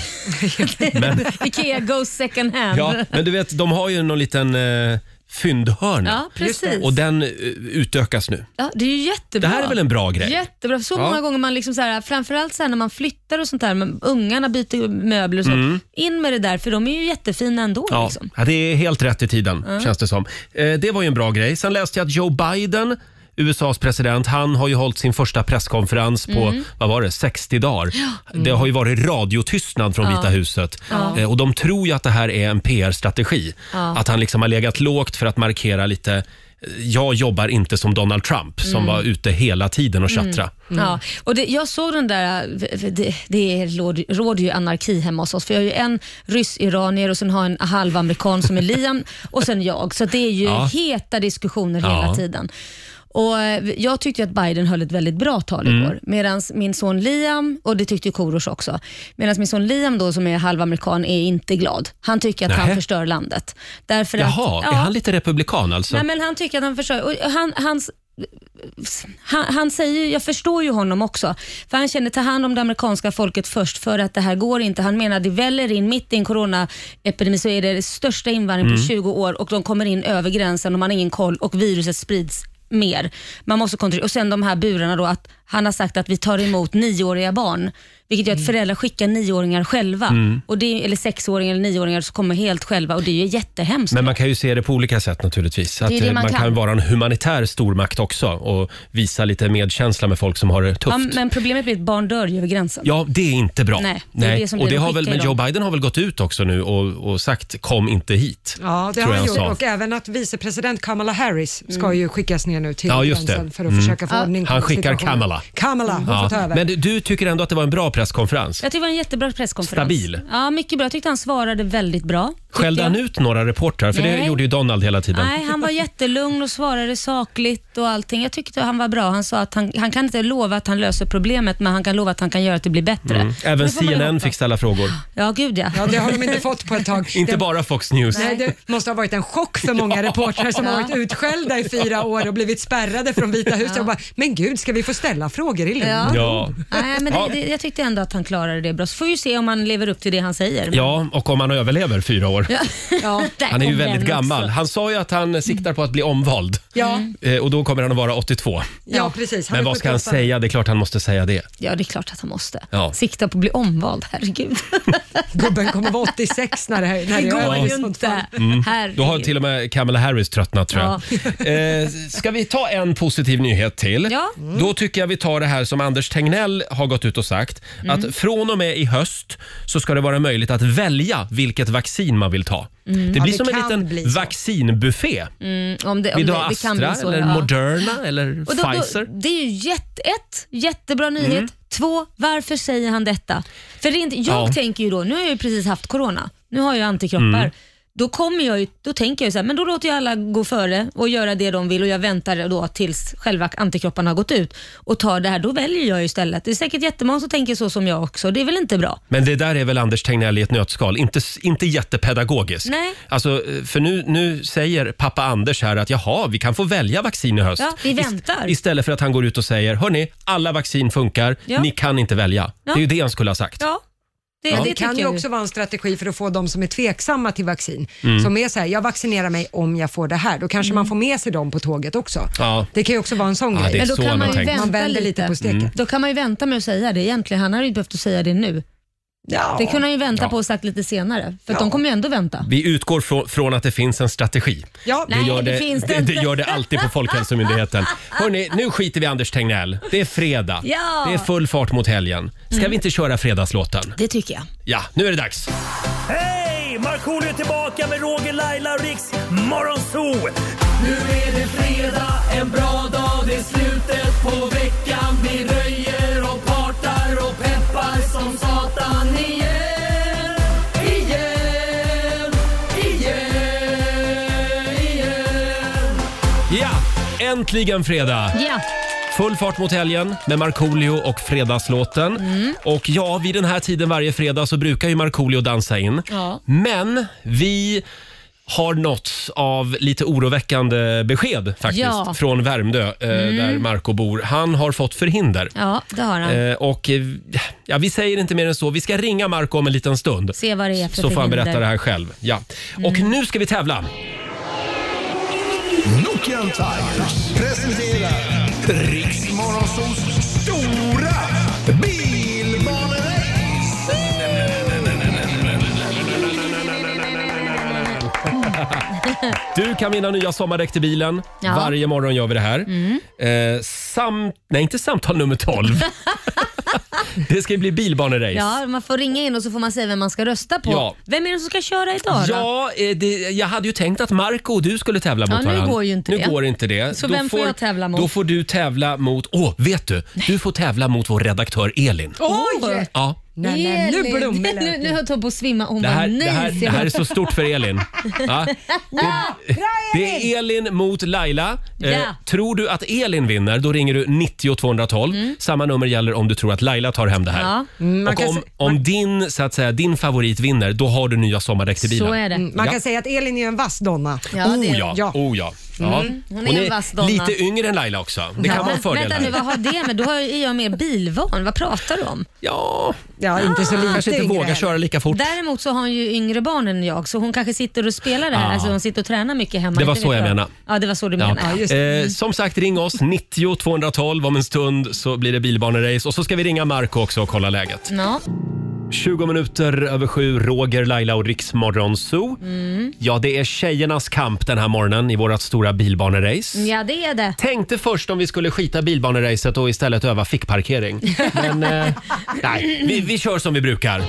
ja, det... Ikea goes second hand. Ja, Ja, men du vet, de har ju någon liten eh, fyndhörna. precis. Och den eh, utökas nu. Ja, det är ju jättebra. Det här är väl en bra grej? Jättebra. Så Ja. många gånger man liksom så här, framförallt så här när man flyttar och sånt där, men ungarna byter möbler och så. In med det där, för de är ju jättefina ändå. Mm. Ja. Liksom. ja, det är helt rätt i tiden känns det som. Eh, det var ju en bra grej. Sen läste jag att Joe Biden USAs president, han har ju hållit sin första presskonferens på, Mm. vad var det, 60 dagar. Det har ju varit radiotystnad från Vita huset. Eh, Och de tror ju att det här är en PR-strategi. Att han liksom har legat lågt för att markera lite, eh, jag jobbar inte som Donald Trump Mm. som var ute hela tiden och tjattrade. Ja. Och det, jag såg den där, det, det är- råder- råder ju anarki hemma hos oss, för jag har ju en ryss-iranier och sen har jag en halvamerikan som är Liam och sen jag. Så det är ju Ja. heta diskussioner Ja. hela tiden. Och eh, Jag tyckte ju att Biden höll ett väldigt bra tal Mm. igår, medan min son Liam, och det tyckte ju Korosh också, medan min son Liam då som är halvamerikan är inte glad. Han tycker att Nähä. han förstör landet. Därför Jaha, att, är han lite republikan alltså? Nej, men han tycker att han försöker. Och han, hans, han, han säger, ju- jag förstår ju honom också, för han känner ta hand om det amerikanska folket först för att det här går inte. Han menar det väller in, mitt i en coronaepidemi så är det den största invandringen på 20 år och de kommer in över gränsen och man har ingen koll och viruset sprids mer. Man måste kontrollera. Och sen de här burarna då, att han har sagt att vi tar emot nioåriga barn, vilket gör att föräldrar skickar nioåringar själva, och det, eller sexåringar eller nioåringar som kommer helt själva och det är ju jättehemskt. Men man kan ju se det på olika sätt naturligtvis. Att Det är det eh, man man kan. kan vara en humanitär stormakt också och visa lite medkänsla med folk som har det tufft. Ja, Ja, men problemet blir att barn dör ju över gränsen. det är inte bra. Nej, det är det som och det blir att har väl, skicka men Joe idag. Biden har väl gått ut också nu och, och sagt kom inte hit. Ja, det tror har jag han gjort sa. och även att vicepresident Kamala Harris ska ju skickas ner nu till Ja, just det. Mm. gränsen för att försöka få ordning på Han skickar situationen. Kamala. Kamala, hon får ta Ja. över. Men du- du tycker ändå att det var en bra presskonferens? Jag tycker det var en jättebra presskonferens. Stabil. Ja, mycket bra. Jag tyckte han svarade väldigt bra. tyckte Skällde jag. han ut några reportrar? För det Nej. gjorde ju Donald hela tiden. Nej, han var jättelugn och svarade sakligt och allting. Jag tyckte han var bra. Han sa att han, han kan inte lova att han löser problemet, men han kan lova att han kan göra att det blir bättre. Även Det får man ju CNN hoppas. fick ställa frågor. Ja, gud ja. Ja, det har de inte fått på ett tag. Inte det, bara Fox News. Nej, det måste ha varit en chock för många reportrar som har Ja. varit utskällda i fyra år och blivit spärrade från Vita huset. Och bara, men gud, ska vi få ställa frågor i lugn? Ja. Ja. Nej, men Ja. det, det, jag tyckte ändå att han klarade det bra. Så får vi ju se om han lever upp till det han säger. ja, och om han överlever fyra år. år. Ja. Han är ju väldigt gammal. Han sa ju att han siktar på att bli omvald. Ja, Mm. Eh, Och då kommer han att vara 82. ja precis. Men är vad ska han 78. säga? Det är klart han måste säga det. Ja, det är klart att han måste. Ja. Sikta på att bli omvald, herregud. Gubben kommer vara 86 när det, här, när Det det är går över. ju i sånt fall. inte. Mm. Herregud. Då har till och med Kamala Harris tröttnat tror jag. Eh, ska vi ta en positiv nyhet till? Mm. Ja. Då tycker jag vi tar det här som Anders Tegnell har gått ut och sagt. Mm. Att från och med i höst så ska det vara möjligt att välja vilket vaccin man vill ta. Mm. Det blir det som en kan liten bli så. vaccinbuffé. om det, om Vill du Mm. det, ha det kan bli Astra, så, eller ja. Moderna eller Och då, Pfizer? Mm. Då, det är ju jätte, ett, jättebra nyhet. Två, varför säger han detta? För det är inte, jag Ja. Mm. tänker ju då, nu har jag ju precis haft corona, nu har jag antikroppar. Då, kommer jag ju, då tänker jag ju så här, men då låter jag alla gå före och göra det de vill och jag väntar då tills själva antikropparna har gått ut och tar det här. Då väljer jag ju istället. Det är säkert jättemånga som tänker så som jag också. Det är väl inte bra? Men det där är väl Anders Tegnell i ett nötskal. Inte, inte jättepedagogiskt. Nej. Alltså, för nu, nu säger pappa Anders här att jaha, vi kan få välja vaccin i höst. Ja, vi Ist- väntar. istället för att han går ut och säger, hörni, alla vaccin funkar, Ja. ni kan inte välja. Ja. Det är ju det han skulle ha sagt. Ja, det, Men det, det kan tycker ju jag också vara en strategi för att få de som är tveksamma till vaccin. Mm. Som är så här, jag vaccinerar mig om jag får det här. Då kanske Mm. man får med sig dem på tåget också. Ja. Det kan ju också vara en sån Ja, grej. det är Men då så kan han man har ju tänkt. Mm. vänta Man vänder lite på steken. Då kan man ju vänta med att säga det egentligen. Han hade ju inte behövt att säga det nu. Ja. Det kunde han ju vänta Ja. på och sagt lite senare. För att de kommer ju ändå vänta. Vi utgår frå- från att det finns en strategi. Ja, Nej, gör det finns det det, det inte. gör det alltid på Folkhälsomyndigheten. Hörni, nu skiter vi i Anders Tegnell. Det är fredag. Ja. Mm. Det är full fart mot helgen. Ska vi inte köra fredagslåten? Det tycker jag. Ja, nu är det dags. Hej! Markoolio är tillbaka med Roger, Laila och Riks Morgonzoo! Nu är det fredag, en bra dag, det är slutet på veckan. Vi röjer och partar och peppar som satan igen. Igen, igen, igen. Ja, äntligen fredag. Ja. Full fart mot helgen med Markoolio och Fredagslåten. Mm. Och ja, vid den här tiden varje fredag så brukar ju Markoolio dansa in. Ja. Men vi har nåtts av lite oroväckande besked faktiskt Ja. Mm. från Värmdö eh, där Marco bor. Han har fått förhinder. ja, det har han. Eh, och eh, ja, vi säger inte mer än så. Vi ska ringa Marco om en liten stund. Se vad det är för så får han förhinder. Mm. berätta det här själv. Ja. Och nu ska vi tävla. Nokian Tigers presenterar Riks Morgonzoos stora bilbanerace. Du kan vinna nya sommardäck till bilen. Ja. Mm. Varje morgon gör vi det här. Eh, sam nej, inte samtal nummer 12. det ska ju bli bilbanerace. Ja, man får ringa in och så får man säga vem man ska rösta på. Ja. Vem är det som ska köra idag då? Ja, eh, det, jag hade ju tänkt att Marco och du skulle tävla mot nu varandra. går ju inte nu det. Går inte det. Så vem får jag tävla mot? Då får du tävla mot... Åh, vet du? Du får tävla mot vår redaktör Elin. Oj! Ja. Nej, nej, nu Oh, Elin. blommor Nu, lät nu höll hon på att svimma. Hon Det här, bara, nej, det, här, det här är så stort för Elin. Ja. Det, det är Elin mot Laila. Eh, Ja. Tror du att Elin vinner, då ringer du 90 212. Samma nummer gäller om du tror att Laila tar hem det här. Mm. Ja. Mm, man Och kan om, se- om din, så att säga, din favorit vinner, då har du nya sommardäck till bilen. Så är det. mm, Man Ja. kan säga att Elin är ju en vass donna. Ja, det Oh är- ja, Ja. Oh, ja. ja. Mm. Hon är en vass donna. lite yngre än Laila också. Det kan Ja. vara en fördel. Vänta nu, här. vad har det med... Då har jag- är jag mer bilvan. Vad pratar du om? Ja, Ja, inte Ah. så lite kanske inte yngre vågar heller. köra lika fort. Däremot så har hon ju yngre barn än jag, så hon kanske sitter och spelar det här. Ah. Alltså hon sitter och tränar mycket hemma. Det var Inte så vet jag menade. Ja, det var så du Ja. menade. just Eh, som sagt, ring oss. 90 212. Om en stund så blir det bilbanerace. Och så ska vi ringa Marco också och kolla läget. Ja. 20 minuter över sju, Roger, Laila och Riksmorgon Zoo. Mm. Ja, det är tjejernas kamp den här morgonen i vårt stora bilbanerace. ja, det är det. Tänkte först om vi skulle skita bilbaneracet och istället öva fickparkering. Men eh, nej, vi, vi kör som vi brukar.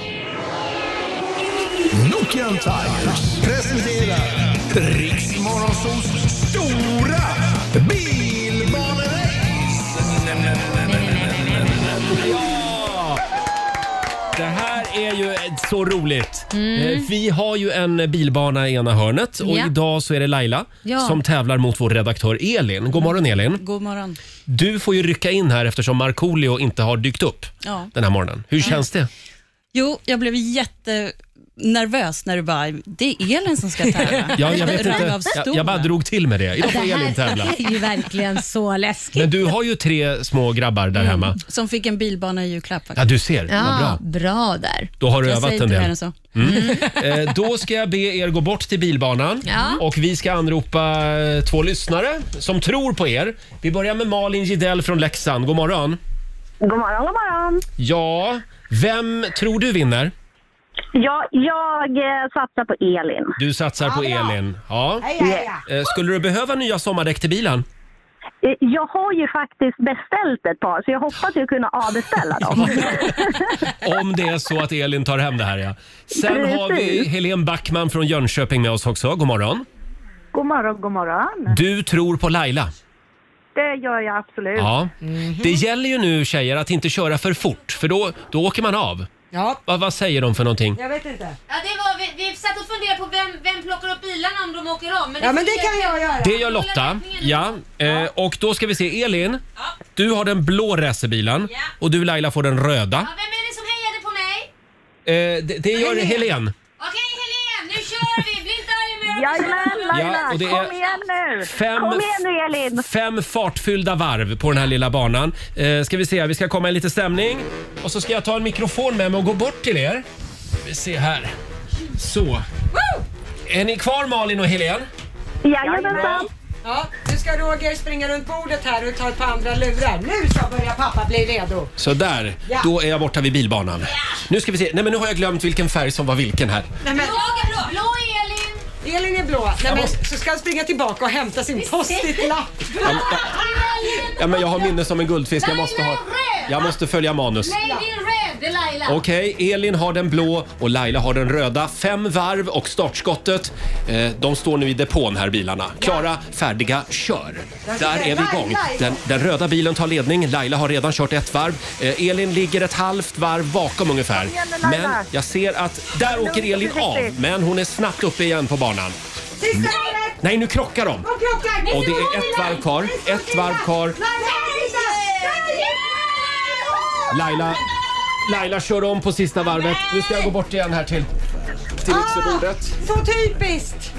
Nokian Tigers presenterar Riks Morgonzoos stora bilbanerace. Det här är ju så roligt. Eh, Vi har ju en bilbana i ena hörnet och Mm. Ja. idag så är det Laila Ja. som tävlar mot vår redaktör Elin. God morgon Elin. God morgon. Du får ju rycka in här eftersom Markoolio inte har dykt upp Ja. Mm. den här morgonen. Hur känns det? Jo, jag blev jätte nervös när du bara, det är Elin som ska tävla. Ja, jag vet Rang inte. Av Jag, jag bara drog till med det. Idag får Det Elin tävla. här är ju verkligen så läskigt. Men du har ju tre små grabbar där Mm. hemma. Som fick en bilbana i julklapp. Ja, faktiskt. du ser. Vad Ja, bra. bra där. Då har du jag övat säger en inte mer del. än så. Eh, då ska jag be er gå bort till bilbanan Ja. och vi ska anropa eh, två lyssnare som tror på er. Vi börjar med Malin Gidell från Leksand. God morgon. God morgon, god morgon. Ja, vem tror du vinner? Ja, jag eh, satsar på Elin. Du satsar på Elin. Ja. Eh, Skulle du behöva nya sommardäck till bilen? Eh, Jag har ju faktiskt beställt ett par, så jag hoppas ju kunna avbeställa dem. Om det är så att Elin tar hem det här ja. Sen har vi Helene Backman från Jönköping med oss också. God morgon. god morgon, god morgon. Du tror på Laila. Det gör jag absolut. Ja. Mhm. Det gäller ju nu tjejer att inte köra för fort för då, då åker man av. Ja, Va, vad säger de för någonting? jag vet inte. Ja, det var, vi, vi satt och funderade på vem, vem plockar upp bilarna om de åker av. Men Ja, men det kan jag göra. Det gör Lotta. Ja. Eh, och då ska vi se. Elin, du har den blå racerbilen Ja. och du Laila får den röda. vem är det som hejade på mig? Eh, det, det gör Helen. Okej Helene, nu kör vi! Bli inte arg med Jajamän, Ja, Laila! och det är Kom igen nu! fem- Kom igen nu, Elin! Fem fartfyllda varv på den här lilla banan. Eh, ska vi se, vi ska komma i lite stämning. Och så ska jag ta en mikrofon med mig och gå bort till er. Vi ser här. Så. Är ni kvar Malin och Helen? Jajamensan! Ja, nu ska Roger springa runt bordet här och ta ett par andra lurar. Nu så börjar pappa bli redo. Så där, Ja. då är jag borta vid bilbanan. Nu ska vi se, nej men nu har jag glömt vilken färg som var vilken här. Nej, men, blå, blå Elin! Elin är blå. Nej, men, så ska han springa tillbaka och hämta sin post-it-lapp. Ja men jag har minne som en guldfisk, jag måste, ha, jag måste följa manus. Nej, det är red, det är Laila. Okej, Elin har den blå och Laila har den röda. Fem varv och startskottet. Eh, de står nu i depån här bilarna. Klara, färdiga, kör. Där är vi igång. Den, den röda bilen tar ledning. Laila har redan kört ett varv. Eh, Elin ligger ett halvt varv bakom ungefär. Men jag ser att där åker Elin av. Men hon är snabbt uppe igen på banan. Sista varvet! Nej, nu krockar de. Och krockar! Och det är ett varv kvar. Ett varv kvar. Laila, Laila kör om på sista varvet. Nu ska jag gå bort igen här till, till ytterbordet. Så typiskt!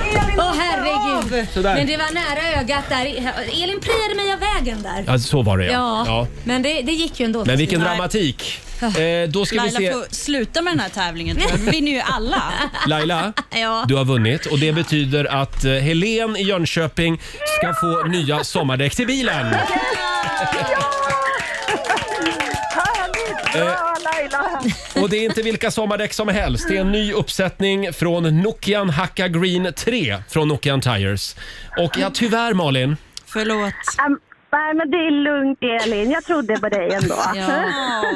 Elin Åh hoppar herregud. Sådär. Ah! Men det var nära ögat där. Elin pryade mig av vägen där. Ja, så var det Ja, men det, det gick ju ändå. Men vilken Nej. dramatik. Eh, då ska vi Laila se. får sluta med den här tävlingen. tror jag. Vi vinner ju alla. Laila, Ja. du har vunnit och det betyder att eh, Helen i Jönköping ska få nya sommardäck till bilen. Härligt! Bra, Laila! Och det är inte vilka sommardäck som helst. Det är en ny uppsättning från Nokian Hakka Green 3 från Nokian Tires. Och ja, tyvärr Malin. Förlåt. Äm, Nej, men det är lugnt, Elin. Jag trodde på dig ändå. Ja.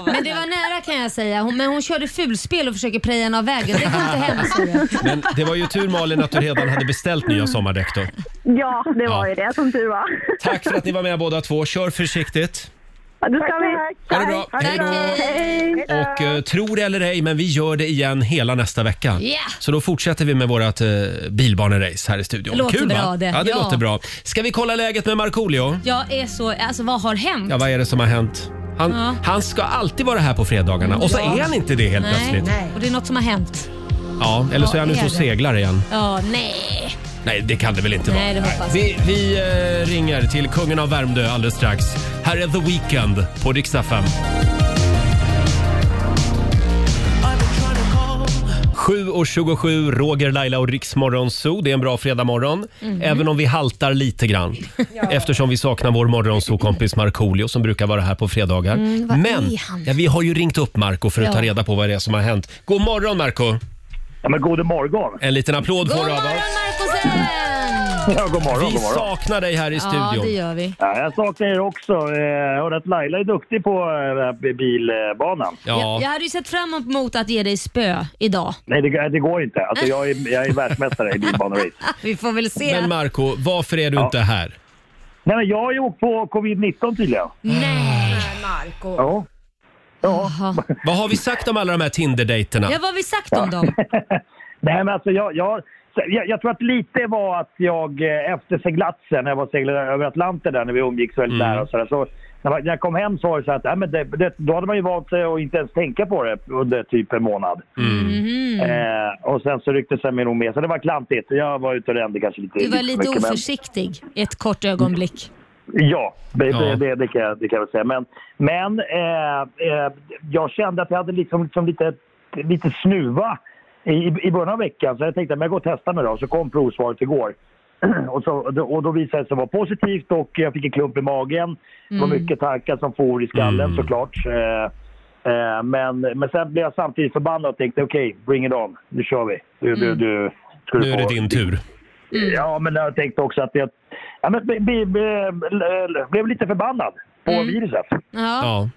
Men det var nära kan jag säga. Hon, men hon körde fulspel och försöker preja en av vägen. Det går inte hem så jag. Men det var ju tur Malin att du redan hade beställt nya sommardäck då. Ja, det var Ja. ju det, som tur var. Tack för att ni var med båda två. Kör försiktigt. Ja, Då ska vi... Ha det bra. Hej då. Hej! Och eh, tro det eller ej, men vi gör det igen hela nästa vecka. Ja. Så då fortsätter vi med vårt eh, bilbanerace här i studion. Låter Kul, va? bra det. Ja, det Ja. låter bra. Ska vi kolla läget med Markoolio? jag är så... Alltså vad har hänt? Ja, vad är det som har hänt? Han, Ja. han ska alltid vara här på fredagarna och så är han inte det helt Nej. plötsligt. Och det är något som har hänt. Ja, eller så är Vad han ute är och det? seglar igen. Ja, nej. Nej, det kan det väl inte vara? Nej, det hoppas jag. Vi, vi eh, ringer till kungen av Värmdö alldeles strax. Här är The Weeknd på riksdag 5. 7.27, Roger, Laila och Riksmorgon Zoo. Det är en bra fredagmorgon, Mhm. även om vi haltar lite grann. Eftersom vi saknar vår morgonzoo-kompis Markoolio som brukar vara här på fredagar. Men var Mm, är han? ja, vi har ju ringt upp Marco för att Ja. ta reda på vad det är som har hänt. God morgon Marco! Ja, men god morgon. En liten applåd God får du av morgon oss. Markusen! Ja, god morgon, Vi god morgon. saknar dig här i Ja, det studion. gör vi. Ja, jag saknar er också. Eh, Jag hörde att Laila är duktig på eh, bilbanan. Jag, jag hade ju sett fram emot att ge dig spö idag. Nej, det, det går inte. Alltså, jag, är, jag är världsmästare i bilbanerace. Vi får väl se. Men Marco, varför är du Ja. inte här? Nej, men jag har ju åkt på covid-19 tydligen. Mm. Nej. Marco. Ja. Ja. Jaha. Vad har vi sagt om alla de här Tinder-dejterna? Ja, vad har vi sagt om dem? Nej, men alltså jag, jag jag, jag tror att lite var att jag eh, efter seglatsen, när jag var seglade över Atlanten där när vi umgicks väldigt nära och sådär. Så när man- när jag kom hem så var det så att nej, men det, det, då hade man ju valt sig att inte ens tänka på det under typ en månad. Mm. Eh, och sen så ryckte sig mig nog med. Så det var klantigt. Jag var ute och rände kanske lite Du var för lite mycket, men- oförsiktig i ett kort ögonblick. Ja, det, Ja. Det, det, det, kan, jag- det kan jag väl säga. Men, men eh, eh, jag kände att jag hade liksom, liksom lite, lite snuva i, i början av veckan. Så jag tänkte att jag går och testar mig då. Så kom provsvaret igår. Och, så, och då visade det sig vara positivt och jag fick en klump i magen. Det var Mm. mycket tankar som for i skallen Mm. såklart. Eh, eh, men, men sen blev jag samtidigt förbannad och tänkte okej, bring it on. Nu kör vi. Du, du, Mm. du, ska du Nu är det få- din tur. Mm. Ja, men jag tänkte också att jag ja, men, be, be, be, blev lite förbannad på Mm. viruset. Ja.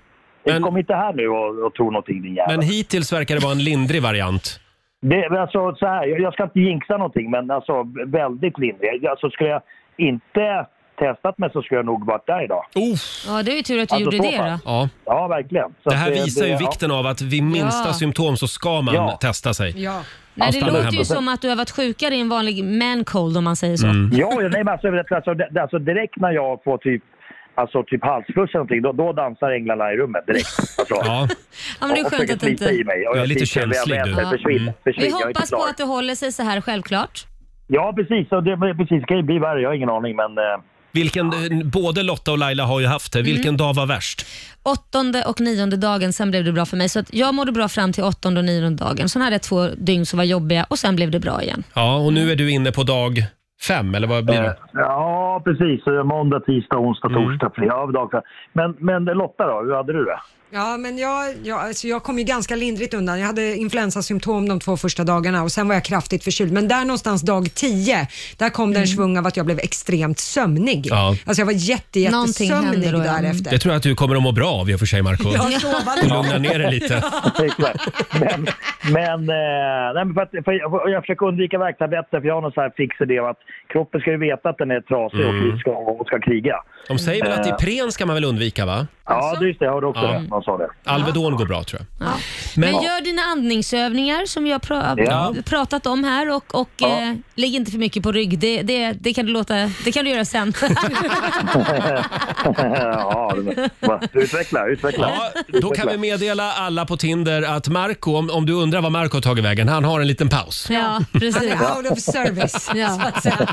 Kom inte här nu och, och tro någonting din jävel. Men hittills verkar det vara en lindrig variant. Det, men alltså, så här, jag, jag ska inte jinxa någonting, men alltså, väldigt lindrig. Alltså, skulle jag inte testat mig så skulle jag nog varit där idag. Ja, det är ju tur att du Alltså, gjorde så det då. pass. Ja. Ja, verkligen. Så Det att här visar ju ja. vikten av att vid minsta Ja. symptom så ska man Ja. testa sig. Ja. Nej, Ja, det stanna låter hemma. ju som att du har varit sjukare i en vanlig man-cold om man säger så. Mm. Ja, ja, nej, men alltså, det- alltså, det- alltså, direkt när jag får typ, alltså, typ halsfluss eller någonting, då, då dansar änglarna i rummet direkt. Alltså, ja. Ja, men det är skönt att inte- I mig. Och Du är jag lite sitter väl- känslig, du. väl- Försvinn, Mm. försvinn. Vi jag är inte hoppas på klar. att det håller sig så här självklart. Ja, precis. Och det, precis. Det kan ju bli värre. Jag har ingen aning, men... Eh, Vilken, både Lotta och Laila har ju haft det. Vilken Mm. dag var värst? Åttonde och nionde dagen, sen blev det bra för mig. Så att jag mådde bra fram till åttonde och nionde dagen. Sen hade jag två dygn som var jobbiga och sen blev det bra igen. Ja, och nu är du inne på dag fem, eller vad blir det? Mm. ja, precis. Eh, Måndag, tisdag, onsdag, torsdag, fredag. Ja, dag. Men, men Lotta då, hur hade du det? Ja, men jag, jag, alltså jag kom ju ganska lindrigt undan. Jag hade influensasymptom de två första dagarna och sen var jag kraftigt förkyld. Men där någonstans dag 10, där kom det en svung av att jag blev extremt sömnig. Ja. Alltså jag var jätte, Någonting jättesömnig hände då, ja. därefter. Det tror jag att du kommer att må bra av i och för sig, Marco. Ja, så var det. Lugna ner dig lite. men, men, eh, nej, men för att, för jag, jag försöker undvika värktabletter för jag har någon sån här fix idé om att kroppen ska ju veta att den är trasig Mm. och, ska, och ska kriga. De säger väl att Eh, Ipren ska man väl undvika, va? Ja, det är just det. Jag hörde också Alltså? Ja. det. Någon sa det. Alvedon går bra, tror jag. Men, Men- gör dina andningsövningar som jag pra- Ja. pratat om här och, och eh, ligg inte för mycket på rygg. Det, det, det, kan, du låta, det kan du göra sen. ja, det- va, utveckla, utveckla. Ja, Då kan vi meddela alla på Tinder att Marco, om, om du undrar var Marco har tagit vägen, han har en liten paus. Ja, precis. Han är out of service, så att säga.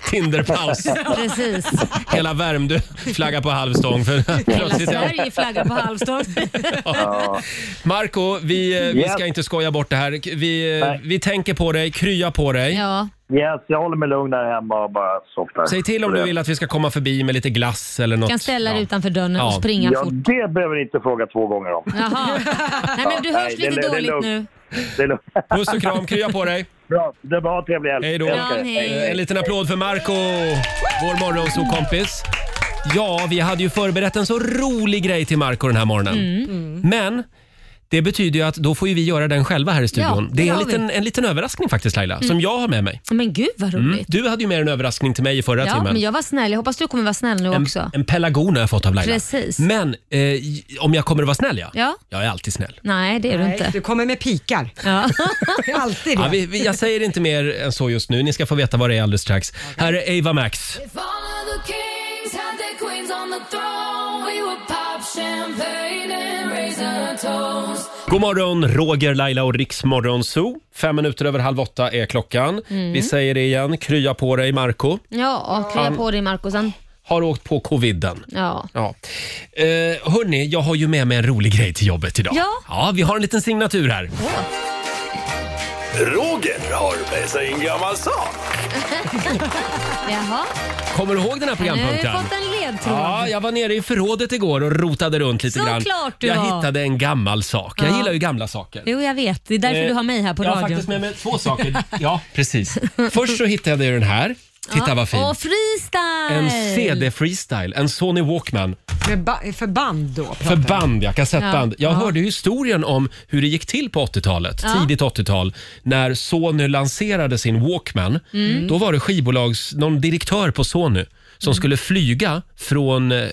Tinderpaus. Precis. Hela Värmdö flaggar på halvstång. För Hela plötsligt är Sverige flaggar på halvstång. Ja. Marco, vi, eh, vi Yes. ska inte skoja bort det här. Vi, eh, Nej. vi tänker på dig, krya på dig. Ja. Yes, jag håller mig lugn där hemma och bara softar. Säg till om du vill att vi ska komma förbi med lite glass eller något. kan ställa dig Ja. utanför dörren och Ja. springa Ja, fort. det behöver ni inte fråga två gånger om. Jaha. Nej, men du Ja, hörs nej, det- lite det- det är dåligt lugnt. nu. Det är lugnt. Puss och kram, krya på dig. Bra, det är bra. Trevlig helg. Hej då. Älskar er. Eh, En liten applåd för Marco, vår morgonsåkompis. Ja, vi hade ju förberett en så rolig grej till Marco den här morgonen. Mm. Men det betyder ju att då får ju vi göra den själva här i studion. Ja, det det är en har liten, vi. Mm. en liten överraskning faktiskt Laila, som jag har med mig. Men gud vad roligt. Mm. Du hade ju med en överraskning till mig i förra Ja, timmen. men jag var snäll. Jag hoppas du kommer vara snäll nu en, också. en pelargon har jag fått av Laila. Precis. Men eh, j- om jag kommer att vara snäll ja. Ja. Jag är alltid snäll. Nej, det är du Nej, inte. Du kommer med pikar. Ja. Det är alltid det. Ja, vi, vi, jag säger inte mer än så just nu. Ni ska få veta vad det är alldeles strax. Här är Ava Max. If all of the kings had their queens on the throne, we would pop champagne and raise a toast. God morgon, Roger, Laila och Riksmorgon Zoo. Fem minuter över halv åtta är klockan. Mm. Vi säger det igen, krya på dig Marco. Ja, krya på dig Marcosen. Har åkt på coviden. Ja. Ja. Eh, hörni, jag har ju med mig en rolig grej till jobbet idag. Ja. ja vi har en liten signatur här. Roger har med sig en gammal sak. Jaha, Kommer du ihåg den här nu har vi programpunkten? fått en ledtråd. Ja, jag var nere i förrådet igår och rotade runt lite grann. Såklart du jag var. hittade en gammal sak. Jag Ja. gillar ju gamla saker. Jo, jag vet. Det är därför Eh, du har mig här på jag har radion. faktiskt med mig två saker. Ja, precis. Först så hittade jag den här. Titta vad fin. Och freestyle! En CD-freestyle, en Sony Walkman. Med ba- för band då? pratar För vi. band, ja. Kassettband. Ja. Jag Ja. hörde ju historien om hur det gick till på 80-talet, Ja. tidigt 80-tal, när Sony lanserade sin Walkman. Mm. Då var det skivbolags, någon direktör på Sony som skulle flyga från eh,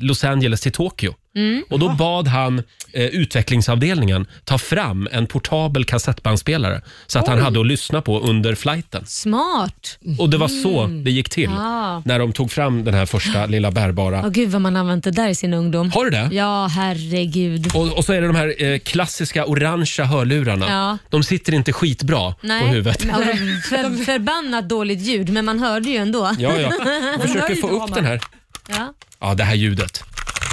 Los Angeles till Tokyo Mm. Och då bad han eh, utvecklingsavdelningen ta fram en portabel kassettbandspelare så att han Oj. hade att lyssna på under flighten. Smart. Och det var så Mm. det gick till Ja. när de tog fram den här första lilla bärbara. Ja, gud vad man använt det där i sin ungdom. Har du det? Ja, herregud. Och, och så är det de här eh, klassiska orangea hörlurarna. Ja. De sitter inte skitbra på huvudet. Ja, för, förbannat dåligt ljud, men man hörde ju ändå. Ja, ja. Jag försöker få upp den här. Ja, Ja, det här ljudet.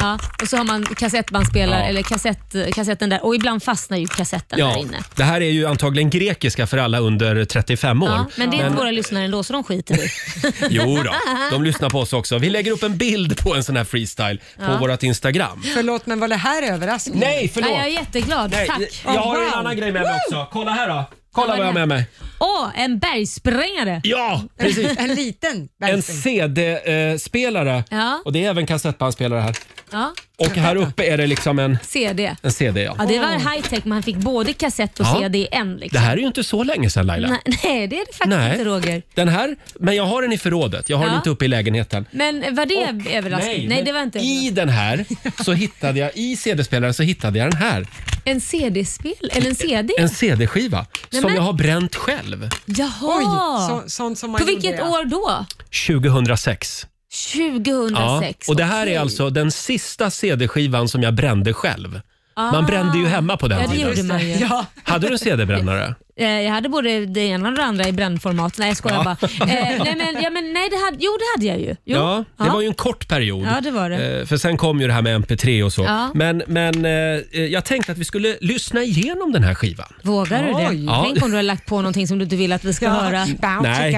ja. Och så har man kassettbandspelare, Ja. eller kassett, kassetten där. Och ibland fastnar ju kassetten Ja, där inne. det här är ju antagligen grekiska för alla under 35 år. Ja, men det är inte våra lyssnare ändå, så de skiter i. Jo då, de lyssnar på oss också. Vi lägger upp en bild på en sån här freestyle Ja. på vårt Instagram. Förlåt, men var det här överraskning? Nej, förlåt. Nej, jag är jätteglad. Tack. Jag har en Wow. annan grej med mig också. Kolla här då. Kolla vad jag har med mig. Åh, en bergsprängare. Ja, precis. En liten En bergsprängare. CD-spelare. Ja. Och det är även kassettbandspelare här. Ja, Och här uppe är det liksom en, CD. en CD. Ja. Ja, det var high tech. Man fick både kassett och Ja. CD i en. Liksom. Det här är ju inte så länge sedan Laila. Nej, nej, det är det faktiskt Nej. inte Roger. Den här, men jag har den i förrådet. Jag har den Ja. inte uppe i lägenheten. Men var det överraskning? nej, Nej, men det var inte. I den här så hittade jag, i CD-spelaren så hittade jag den här. En CD-spel? Eller en CD? En CD-skiva Nej, som men- jag har bränt själv. Jaha! Oj, så- sånt som man På vilket gjorde, ja. år då? 2006. 2006. och det här okej. är alltså den sista CD-skivan som jag brände själv. Ah. Man brände ju hemma på den Ja, det tiden. gjorde man ju. Ja. Hade du en CD-brännare? Eh, Jag hade både det ena och det andra i brännformat. Nej, jag skojar bara. Eh, nej, men, ja, men, nej, det hade, jo, det hade jag ju. Jo. Ja, det var ju en kort period. Ja, det var det. Eh, För sen kom ju det här med MP3 och så. Ja. Men, men eh, jag tänkte att vi skulle lyssna igenom den här skivan. Vågar du det? Oj. Ja. Tänk om du har lagt på någonting som du inte vill att vi ska höra. Nej,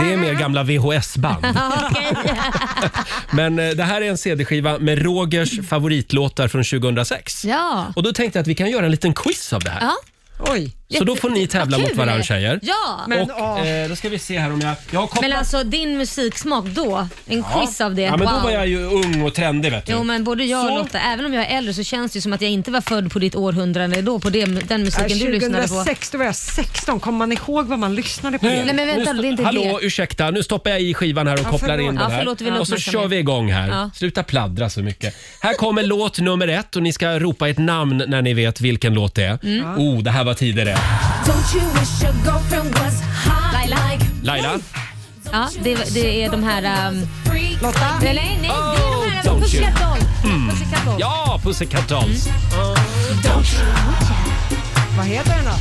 det är mer gamla VHS-band. Men eh, det här är en CD-skiva med Rogers favoritlåtar från 2006. Ja. Och då tänkte jag att vi kan göra en liten quiz av det här. ja. Oj. Så då får ni tävla Vad mot kul. varandra tjejer. Ja. och, eh, då ska vi se här om jag... jag har kopplat... Men alltså din musiksmak då? En quiz av det? Ja, men wow. då var jag ju ung och trendig vet du. Jo men både jag och Så. Lotta, även om jag är äldre så känns det ju som att jag inte var född på ditt århundrade då på det, den musiken du lyssnade på. Mm. 2006, då var jag 16. Kommer man ihåg vad man lyssnade på? Nu- nu, Hallå, ursäkta. Nu stoppar jag i skivan här och Ja, kopplar förlåt. in den Ja, här. förlåt, vi vill och så uppmärksamma kör er. vi igång här. Ja. Sluta pladdra så mycket. Här kommer låt nummer ett och ni ska ropa ett namn när ni vet vilken låt det är. Mm. Oh, det här var tidigare. Don't you wish your girlfriend was hot like Mm. Laila? Ja, det, det är de här... Um... Lotta? Nej, nej, nej det är de här Oh, don't um, Pussycat you. Dolls. Mm. Pussycat Dolls. Ja, Pussycat Dolls. Mm. Vad heter den då?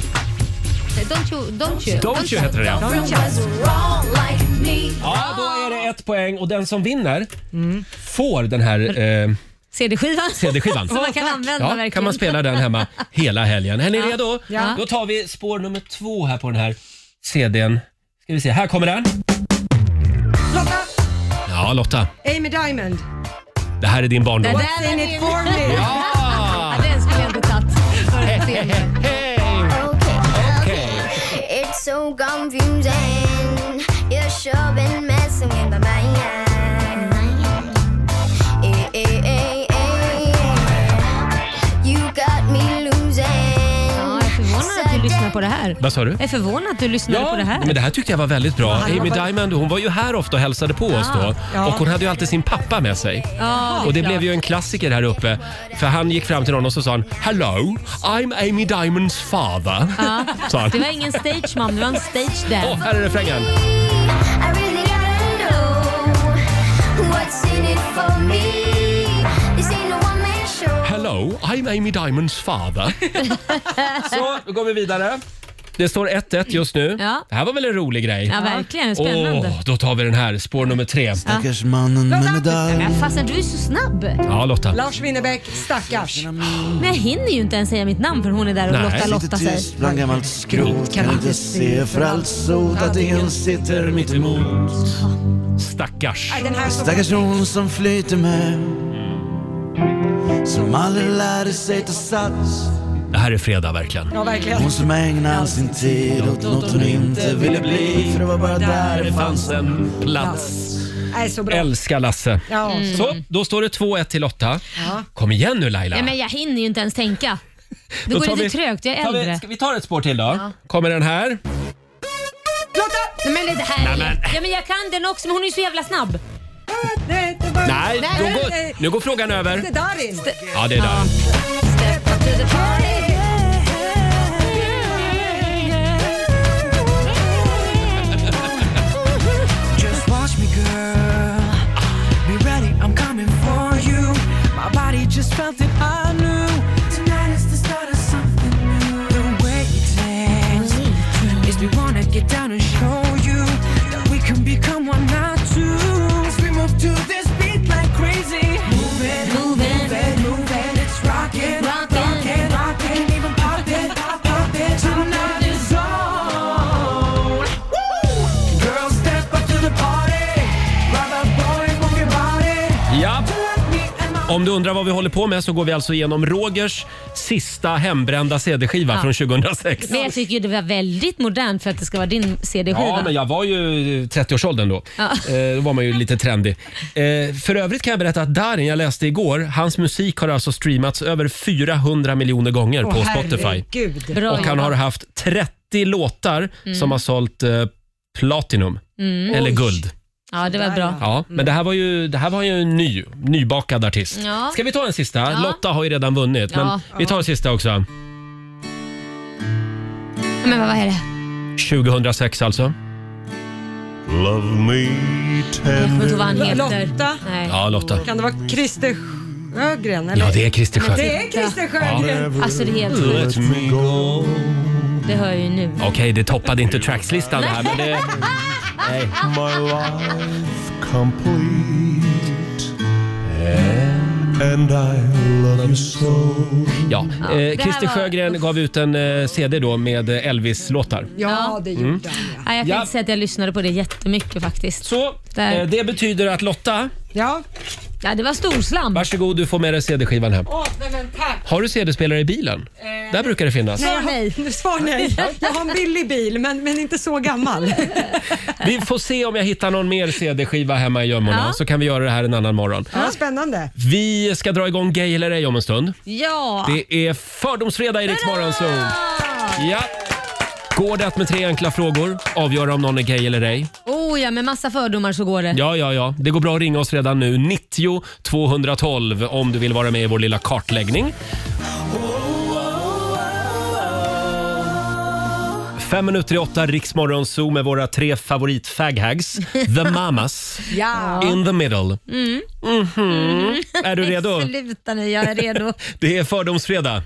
Don't you, don't you. Don't you heter det, ja. Don't you was wrong like me. Ja, då är det ett poäng och den som vinner Mm. får den här eh, CD-skivan. CD-skivan. Som man kan använda ja, verkligen. kan man spela den hemma hela helgen. Är ni Ja. redo? Ja. Då tar vi spår nummer två här på den här CDn. Ska vi se, här kommer den. Lotta! Ja, Lotta. Amy Diamond. Det här är din barndom. What's in it for me? Ja, den skulle jag inte tagit. För att se mer. It's so confusing. You've sure been messing with my mind. Eh, eh, eh, eh. You got me losing. Ja, jag är förvånad att du lyssnar på det här. Vad sa du? Jag är förvånad att du lyssnar på det här. men det här tyckte jag var väldigt bra. Ja, det var Amy bara- Diamond hon var ju här ofta och hälsade på oss Ja. då. Ja. Och hon hade ju alltid sin pappa med sig. Ja, och det klart. blev ju en klassiker här uppe. För han gick fram till någon och så sa han “Hello, I'm Amy Diamonds father”. Sa Ja. han. Det var ingen stage mom, det var en stage dad. Åh, här är refrängen. I really gotta know what's in it for me. This ain't a one man show. “Hello, I'm Amy Diamonds father”. Så, då går vi vidare. Det står 1-1 just nu. Ja. Det här var väl en rolig grej? Ja, verkligen. Spännande. Åh, då tar vi den här, spår nummer tre. Stackars mannen med Men fastän du är så snabb. Ja, Lotta. Lars Winnerbäck, stackars. Men jag hinner ju inte ens säga mitt namn för hon är där och Nej. Lotta Lotta sig. Bland gammalt skrot kan inte se för allt sot att ingen sitter mitt emot. Stackars. Nej, den här som- Stackars hon som flyter med. Som aldrig lärde sig ta sats. Det här är fredag verkligen. Ja, verkligen. Hon som ägnar all sin tid åt något hon inte ville bli. För det var bara där det fanns en plats. Nej, så bra. Älskar Lasse. Ja. Mm. Så, då står det 2-1 till Lotta. Kom igen nu Laila. Ja, men jag hinner ju inte ens tänka. Det Då går tar lite vi- trögt, jag är tar vi- äldre. ska vi ta ett spår till då? Kommer den här? Lotta! Nej, men det här Nej, är... Ja, men jag kan den också, men hon är ju så jävla snabb. Nej, Nej, då går, Nu går frågan över. Det är Darin. Ja, det är Darin. Just watch me, girl. Be ready, I'm coming for you. My body just felt it, I knew. Tonight is the start of something new. The way you dance is we wanna get down and show you that we can become one, not two. As we move to this beat like crazy. Move it, move it, move it, move it. It's rockin', rockin', rockin', rockin', even poppin', pop, poppin'. Tonight is on. Girls, step up to the party. Brother, boy, move your body. Ja. Om du undrar vad vi håller på med så går vi alltså igenom Rogers sista hembrända CD-skiva Ja. från 2006. Men jag tycker ju det var väldigt modernt för att det ska vara din CD-skiva. Ja, men jag var ju 30-årsåldern då. Ja. Eh, då var man ju lite trendig. Eh, för övrigt kan jag berätta att Darin, jag läste igår, hans musik har alltså streamats över 400 miljoner gånger Åh, på Spotify. herregud. Bra Och han jobbat. har haft 30 låtar Mm. som har sålt eh, platinum, Mm. eller Oj. guld. Ja, det var bra. Ja, men det här var ju, det här var ju en ny, nybakad artist. Ja. Ska vi ta en sista? Ja. Lotta har ju redan vunnit, Ja. men vi tar en sista också. Men vad är det? 2006 alltså. Love me Jag kommer inte ihåg vad han heter. Lotta? Nej. Ja, Lotta. Kan det vara Christer Sjögren? Eller? Ja, det är Christer Men Sjögren. Det är Christer Sjögren. Ja. Alltså det är helt Let sjukt. me go. Det hör jag ju nu. Okej, det toppade inte trackslistan det här, men det... Nej. My life complete And I love you so Ja, Ja, eh, det Christer här var- Sjögren gav ut en eh, CD då med eh, Elvis-låtar. Ja, det gjorde Mm. han ja. Nej, Jag kan Ja. inte säga att jag lyssnade på det jättemycket faktiskt. Så, Där. Eh, det betyder att Lotta, Ja. ja, det var storslam. varsågod du får med dig CD-skivan hem. Åh, nej men tack. Har du CD-spelare i bilen? Där brukar det finnas. Nej, jag har, svar nej. Jag har en billig bil, men, men inte så gammal. Vi får se om jag hittar någon mer CD-skiva hemma i gömmorna Ja. så kan vi göra det här en annan morgon. Ja, spännande. Vi ska dra igång Gay eller ej om en stund. Ja. Det är Fördomsfredag i Rix Morgonzoo. Ja. Går det att med tre enkla frågor avgöra om någon är gay eller ej? Oh ja, med massa fördomar så går det. Ja, ja, ja. Det går bra att ringa oss redan nu. 90 212 om du vill vara med i vår lilla kartläggning. Fem minuter i åtta, Riksmorgon Zoo med våra tre favorit faghags. The Mamas, Ja. In the Middle. Mm. Mhm. Är du redo? Sluta nu, jag är redo. Det är Fördomsfredag.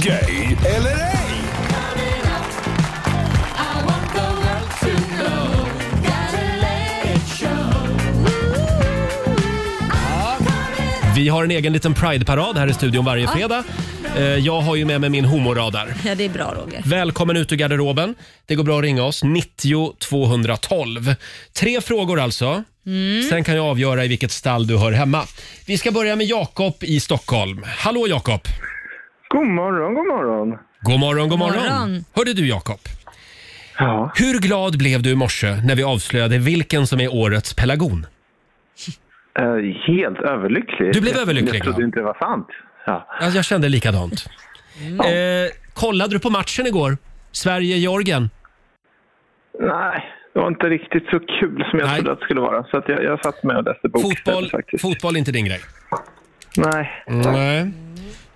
Gay eller ej? Vi har en egen liten Pride-parad här i studion varje Ja. fredag. Eh, Jag har ju med mig min homoradar. Ja, det är bra Roger. Välkommen ut ur garderoben. Det går bra att ringa oss. 90 212. Tre frågor alltså. Mm. Sen kan jag avgöra i vilket stall du hör hemma. Vi ska börja med Jakob i Stockholm. Hallå Jakob! God morgon, god morgon. God morgon, god God morgon. morgon. Hörde du Jakob? Hur glad blev du i morse när vi avslöjade vilken som är årets pelargon? Eh, helt överlycklig. Du blev överlycklig, Jag trodde inte det var sant. Ja. Ja, Jag kände likadant. Mm. Eh, kollade du på matchen igår? Sverige-Georgien? Nej, det var inte riktigt så kul som jag trodde att det skulle vara. Så att jag, jag satt med och läste bok. Fotboll, fotboll är inte din grej? Nej. Nej.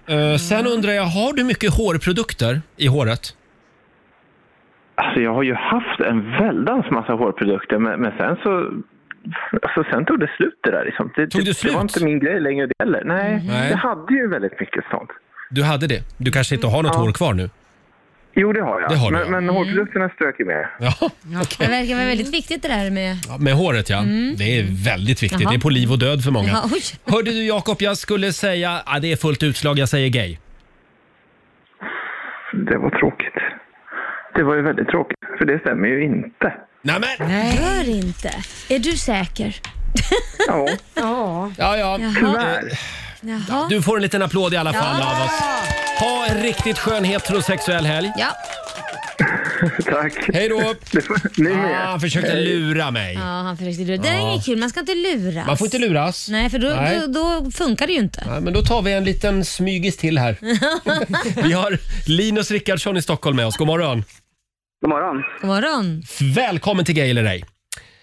Eh, sen Mm. undrar jag, har du mycket hårprodukter i håret? Alltså jag har ju haft en väldans massa hårprodukter, men, men sen så... Alltså sen tog det slut det där liksom. Det, Tog det slut? Mm. var inte min grej längre det heller. Nej, Nej. jag hade ju väldigt mycket sånt. Du hade det? Du kanske inte har något Ja. hår kvar nu? Jo, det har jag. Det har du, men men hårprodukterna strök ju med. Ja. Det verkar vara väldigt viktigt det där med... Ja, Med håret ja. Mm. Det är väldigt viktigt. Jaha. Det är på liv och död för många. Ja, oj. Hörde du Jakob, jag skulle säga... Ja, det är fullt utslag, jag säger gay. Det var tråkigt. Det var ju väldigt tråkigt, för det stämmer ju inte. Nej, men... Gör inte. Är du säker? Ja. ja. Ja, ja. Jaha. Jaha. Du får en liten applåd i alla Ja. fall av oss. Ha en riktigt skön heterosexuell helg. Ja. Tack. Hej då! Ni med. Ah, han försökte Hej. lura mig. Ja, han försökte lura. Det där Ja. är inget kul. Man ska inte luras. Man får inte luras. Nej, för då, Nej. Då, då funkar det ju inte. Ja, men då tar vi en liten smygis till här. Vi har Linus Rickardsson i Stockholm med oss. God morgon. God morgon. God morgon. Välkommen till Gay eller ej.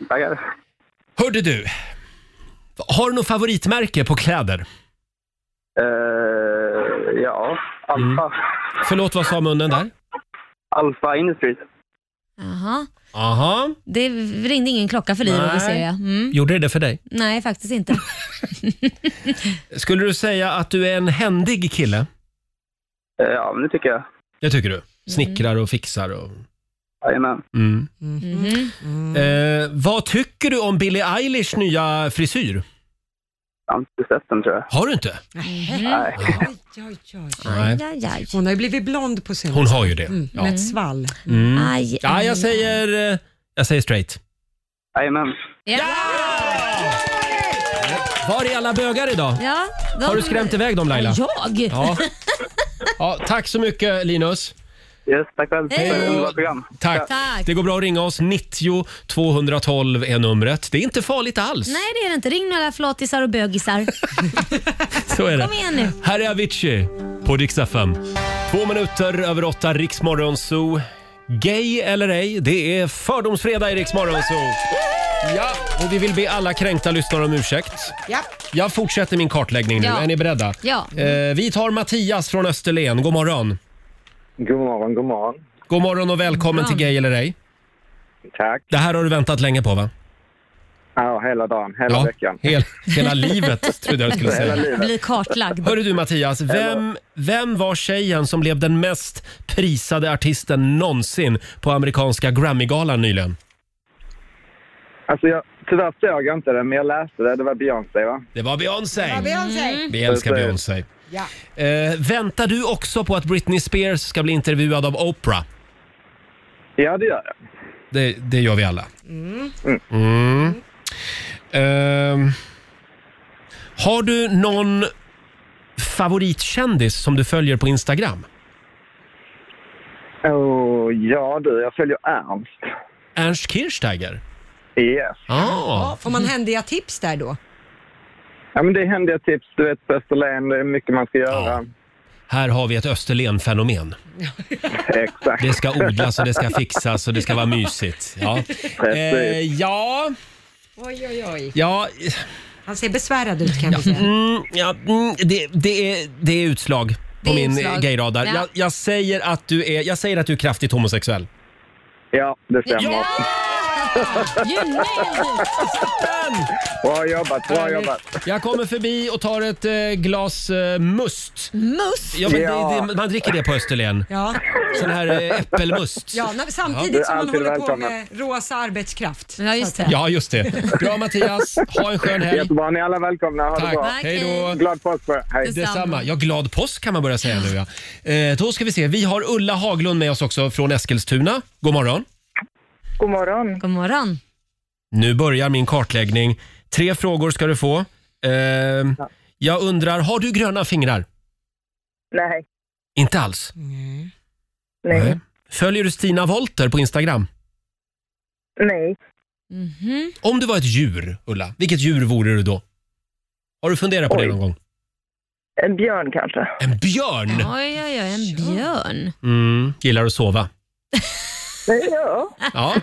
Tackar. Hörde du, har du något favoritmärke på kläder? Eh, ja, Alfa. Mm. Förlåt, vad sa munnen där? Alfa Industries. Jaha. Aha. Det ringde ingen klocka för dig Roger, Nej. ser jag. Mm. Gjorde det för dig? Nej, faktiskt inte. Skulle du säga att du är en händig kille? Eh, Ja, men det tycker jag. Det tycker du? Snickrar och fixar och... Jajamän. Mm. Eh, vad tycker du om Billie Eilish nya frisyr? Jag har inte sett den tror jag. Har du inte? Nej. Oj, oj, oj. Nej. Hon har ju blivit blond på senaste. Hon har ju det. Mm, Ja. Med ett svall. Mm. Aj, ja, jag aj, säger, eh, jag säger straight. Jajamän. Ja! Var är alla bögar idag? Ja, de- Har du skrämt iväg dem Laila? Jag? Ja. Ja, tack så mycket Linus. Yes, tack själv. Hej. Tack för ett underbart program. Tack. Det går bra att ringa oss. 90 212 är numret. Det är inte farligt alls. Nej, det är det inte. Ring nu alla flatisar och bögisar. Så är det. Kom igen nu. Här är Avicii på Dix FM. Två minuter över åtta, Riksmorgon Zoo. Gay eller ej, det är fördomsfredag i Riksmorgon Zoo. Ja, och vi vill be alla kränkta lyssnare om ursäkt. Ja. Jag fortsätter min kartläggning nu. Ja. Är ni beredda? Ja. Eh, vi tar Mattias från Österlen. God morgon. God morgon, god morgon. God morgon och välkommen till Gay eller ej. Tack. Det här har du väntat länge på va? Ja, hela dagen, hela Ja, veckan. hel- hela livet, trodde jag du skulle säga. Hela livet. Bli kartlagd. Hörru du Mattias, vem, vem var tjejen som blev den mest prisade artisten någonsin på amerikanska Grammygalan nyligen? Alltså, jag, tyvärr såg jag inte det, men jag läste det. Det var Beyoncé, va? Det var Beyoncé! Ja, Beyoncé. Vi älskar Precis. Beyoncé. Ja. Eh, väntar du också på att Britney Spears ska bli intervjuad av Oprah? Ja, det gör jag. Det, det gör vi alla. Mm. Mm. Ehm, har du någon favoritkändis som du följer på Instagram? Oh, ja, du, jag följer Ernst. Ernst Kirchsteiger? Yes. Ah. Får man händiga tips där då? Ja, men det är händiga tips. Du vet, på Österlen, det är mycket man ska göra. Här har vi ett Österlen-fenomen. Exakt. Det ska odlas och det ska fixas och det ska vara mysigt. Ja. Eh, ja, Oj, oj, oj. ja, Han ser besvärad ut kan vi säga. mm, ja mm, det, det, är, det är utslag Det på är min utslag. gayradar. Ja. Jag, jag, säger att du är, jag säger att du är kraftigt homosexuell. Ja, det stämmer. Ja! Bra jobbat, bra jobbat. Jag kommer förbi och tar ett eh, glas eh, must. Must? Ja, men Ja. Det, det, man dricker det på Österlen. Ja. Sån här eh, äppelmust. Ja, när, samtidigt som man håller på med rosa arbetskraft. Ja, just Ja, just det. Bra Mattias, ha en skön helg. Jättebra, ni är alla välkomna. Ha Tack. det bra. Tack, hej då. Glad påsk på er. Hej. Detsamma. Ja, glad påsk kan man börja säga nu. Ja. Eh, då ska vi se. Vi har Ulla Haglund med oss också från Eskilstuna. God morgon. God morgon. God morgon. Nu börjar min kartläggning. Tre frågor ska du få. Eh, jag undrar, har du gröna fingrar? Nej. Inte alls. Nej. Nej. Följer du Stina Volter på Instagram? Nej. Om du var ett djur, Ulla, vilket djur vore du då? Har du funderat på det Oj. någon gång? En björn kanske. En björn? Oj, oj, oj. En björn. Mm, gillar att sova. Ja. Ja.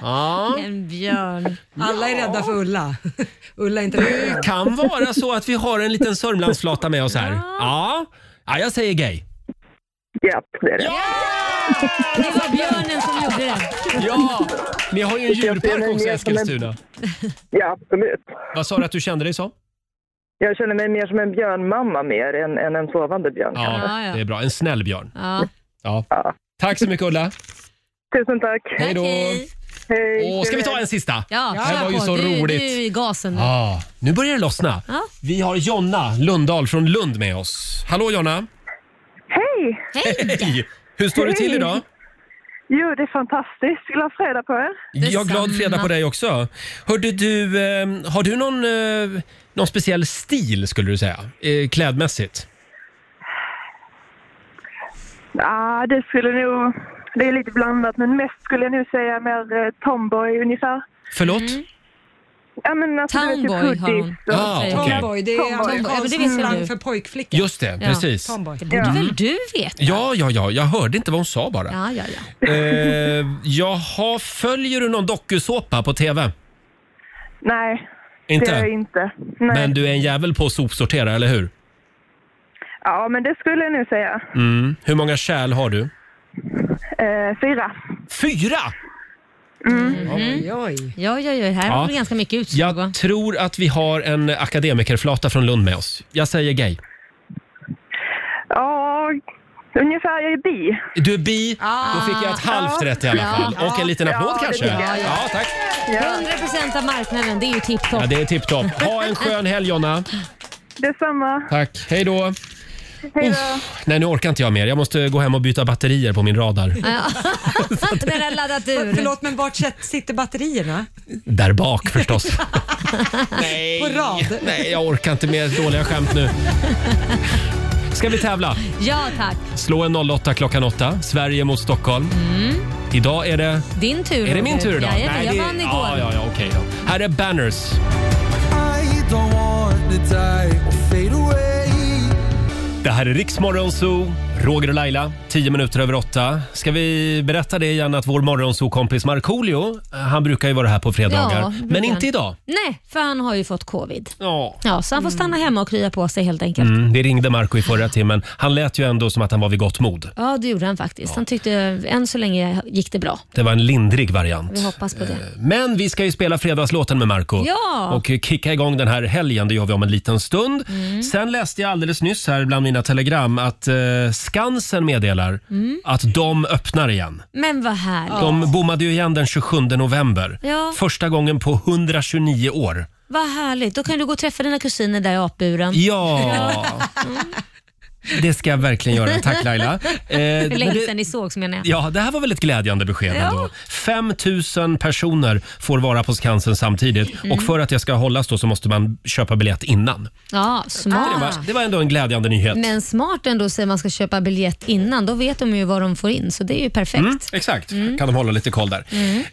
ja. En björn. Alla är rädda för Ulla. Ulla är inte Det kan vara så att vi har en liten Sörmlandsflata med oss här. Ja, ja jag säger gay. Ja, det är det. Det var björnen som gjorde det. Ja, ni har ju en djurpark också i Eskilstuna. Ja, absolut. Vad sa du att du kände dig som? Jag känner mig mer som en björnmamma mer än, än en sovande björn. kanske. Ja, det är bra. En snäll björn. Ja. Ja. Tack så mycket Ulla. Tusen tack. Hej då. Hej. Åh, ska vi ta en sista? Ja, det här var ju kör på. så du, roligt. Du är i gasen nu. Ja, nu börjar det lossna. Ja. Vi har Jonna Lundahl från Lund med oss. Hallå Jonna! Hej! Hej! Hur står det till Hej. idag? Jo, det är fantastiskt. Glad fredag på er. Jag är glad fredag på dig också. Hörde du, eh, har du någon, eh, någon speciell stil skulle du säga? Eh, klädmässigt? Ja, Ah, det skulle nog... Det är lite blandat, men mest skulle jag nog säga mer eh, tomboy ungefär. Förlåt? Ja, men alltså, Townboy har hon. Ah, okej. Tomboy, det är Tomboy. Ja, men det vet amerikansk väl slang du. för pojkflicka. Just det, precis. Tomboy. Det borde väl du veta? Ja, ja, ja. Jag hörde inte vad hon sa bara. Ja, ja, ja. Eh, jaha, följer du någon dokusåpa på TV? Nej, Inte? det är jag inte. Nej. Men du är en jävel på att sopsortera, eller hur? Ja, men det skulle jag nu säga. Mm. Hur många kärl har du? Eh, fyra. Fyra? Oj, oj. Ja, ja, ja. Här Ja. var det ganska mycket utslag. Jag tror att vi har en akademikerflata från Lund med oss. Jag säger gay. Ja, ungefär. Jag är bi. Du är bi, då fick jag ett halvt Ja. rätt i alla Ja. fall. Och en liten applåd kanske. Ja, tack. 100% av marknaden, det är ju tipptopp. Ja, det är tipptopp. Ha en skön helg Jonna. Detsamma. Tack, hej då. Hej då. Nej, nu orkar inte jag mer. Jag måste gå hem och byta batterier på min radar. Den har laddat ur. Förlåt, men vart sätt- sitter batterierna? Där bak förstås. På rad? Nej, jag orkar inte mer dåliga skämt nu. Ska vi tävla? Ja, tack. Slå en 08 klockan 8. Sverige mot Stockholm. Mm. Idag är det... Din tur. Är det min Roger. tur idag? Jajamän, jag det- vann igår. Ja, ja, ja, okej då. Här är Banners. I don't want to die or fade away Det här är Riksmorgon Zoo, Roger och Laila, 10 minuter över åtta. Ska vi berätta det igen att vår morgonzoo-kompis Markoolio, eh, han brukar ju vara här på fredagar. Ja, men brukar inte han. idag. Nej, för han har ju fått covid. Ja. Ja, så han får stanna hemma och krya på sig helt enkelt. Mm, vi ringde Marco i förra timmen. Han lät ju ändå som att han var vid gott mod. Ja, det gjorde han faktiskt. Han tyckte än så länge gick det bra. Eh. Det var en lindrig variant. Vi hoppas på det. Men vi ska ju spela fredagslåten med Marco Ja. och kicka igång den här helgen. Det gör vi om en liten stund. Mm. Sen läste jag alldeles nyss här bland mina telegram att eh, Skansen meddelar Mm. att de öppnar igen. Men vad härligt. De bommade ju igen den 27 november. Ja. Första gången på 129 år. Vad härligt. Då kan du gå och träffa dina kusiner där i apburen. Ja, Mm. det ska jag verkligen göra. Tack Laila. Eh, Hur men länge det, sedan ni sågs menar jag. ja, det här var väl ett glädjande besked Ja. ändå. 5 000 personer får vara på Skansen samtidigt Mm. och för att det ska hållas då så måste man köpa biljett innan. Ja, Det, smart. var, det var ändå en glädjande nyhet. Ah. Men smart ändå att säga att man ska köpa biljett innan. Då vet de ju vad de får in, så det är ju perfekt. Mm, exakt, kan de hålla lite koll där.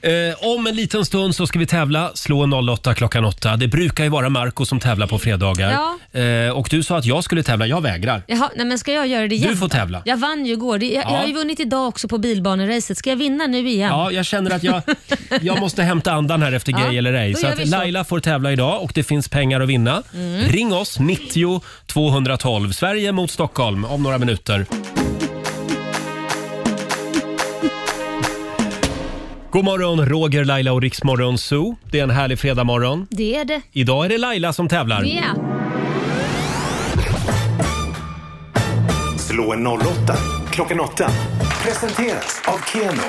Eh, om en liten stund så ska vi tävla. Slå en 08 klockan 8. Det brukar ju vara Marco som tävlar på fredagar. Eh, och du sa att jag skulle tävla. Jag vägrar. Jaha, nej men ska jag göra det igen? Du får då? tävla. Jag vann ju igår. Det- Jag, Ja. jag har ju vunnit idag också på bilbaneracet. Ska jag vinna nu igen? Ja, jag känner att jag, jag måste hämta andan här efter Ja, gay eller ej. då Så gör att vi så. Laila får tävla idag och det finns pengar att vinna. Mm. Ring oss, 90 212. Sverige mot Stockholm om några minuter. God morgon, Roger, Laila och Riksmorgon Zoo. Det är en härlig fredagmorgon. Det är det. Idag är det Laila som tävlar. Ja. Slå en 08 klockan 8. Presenteras av Keno.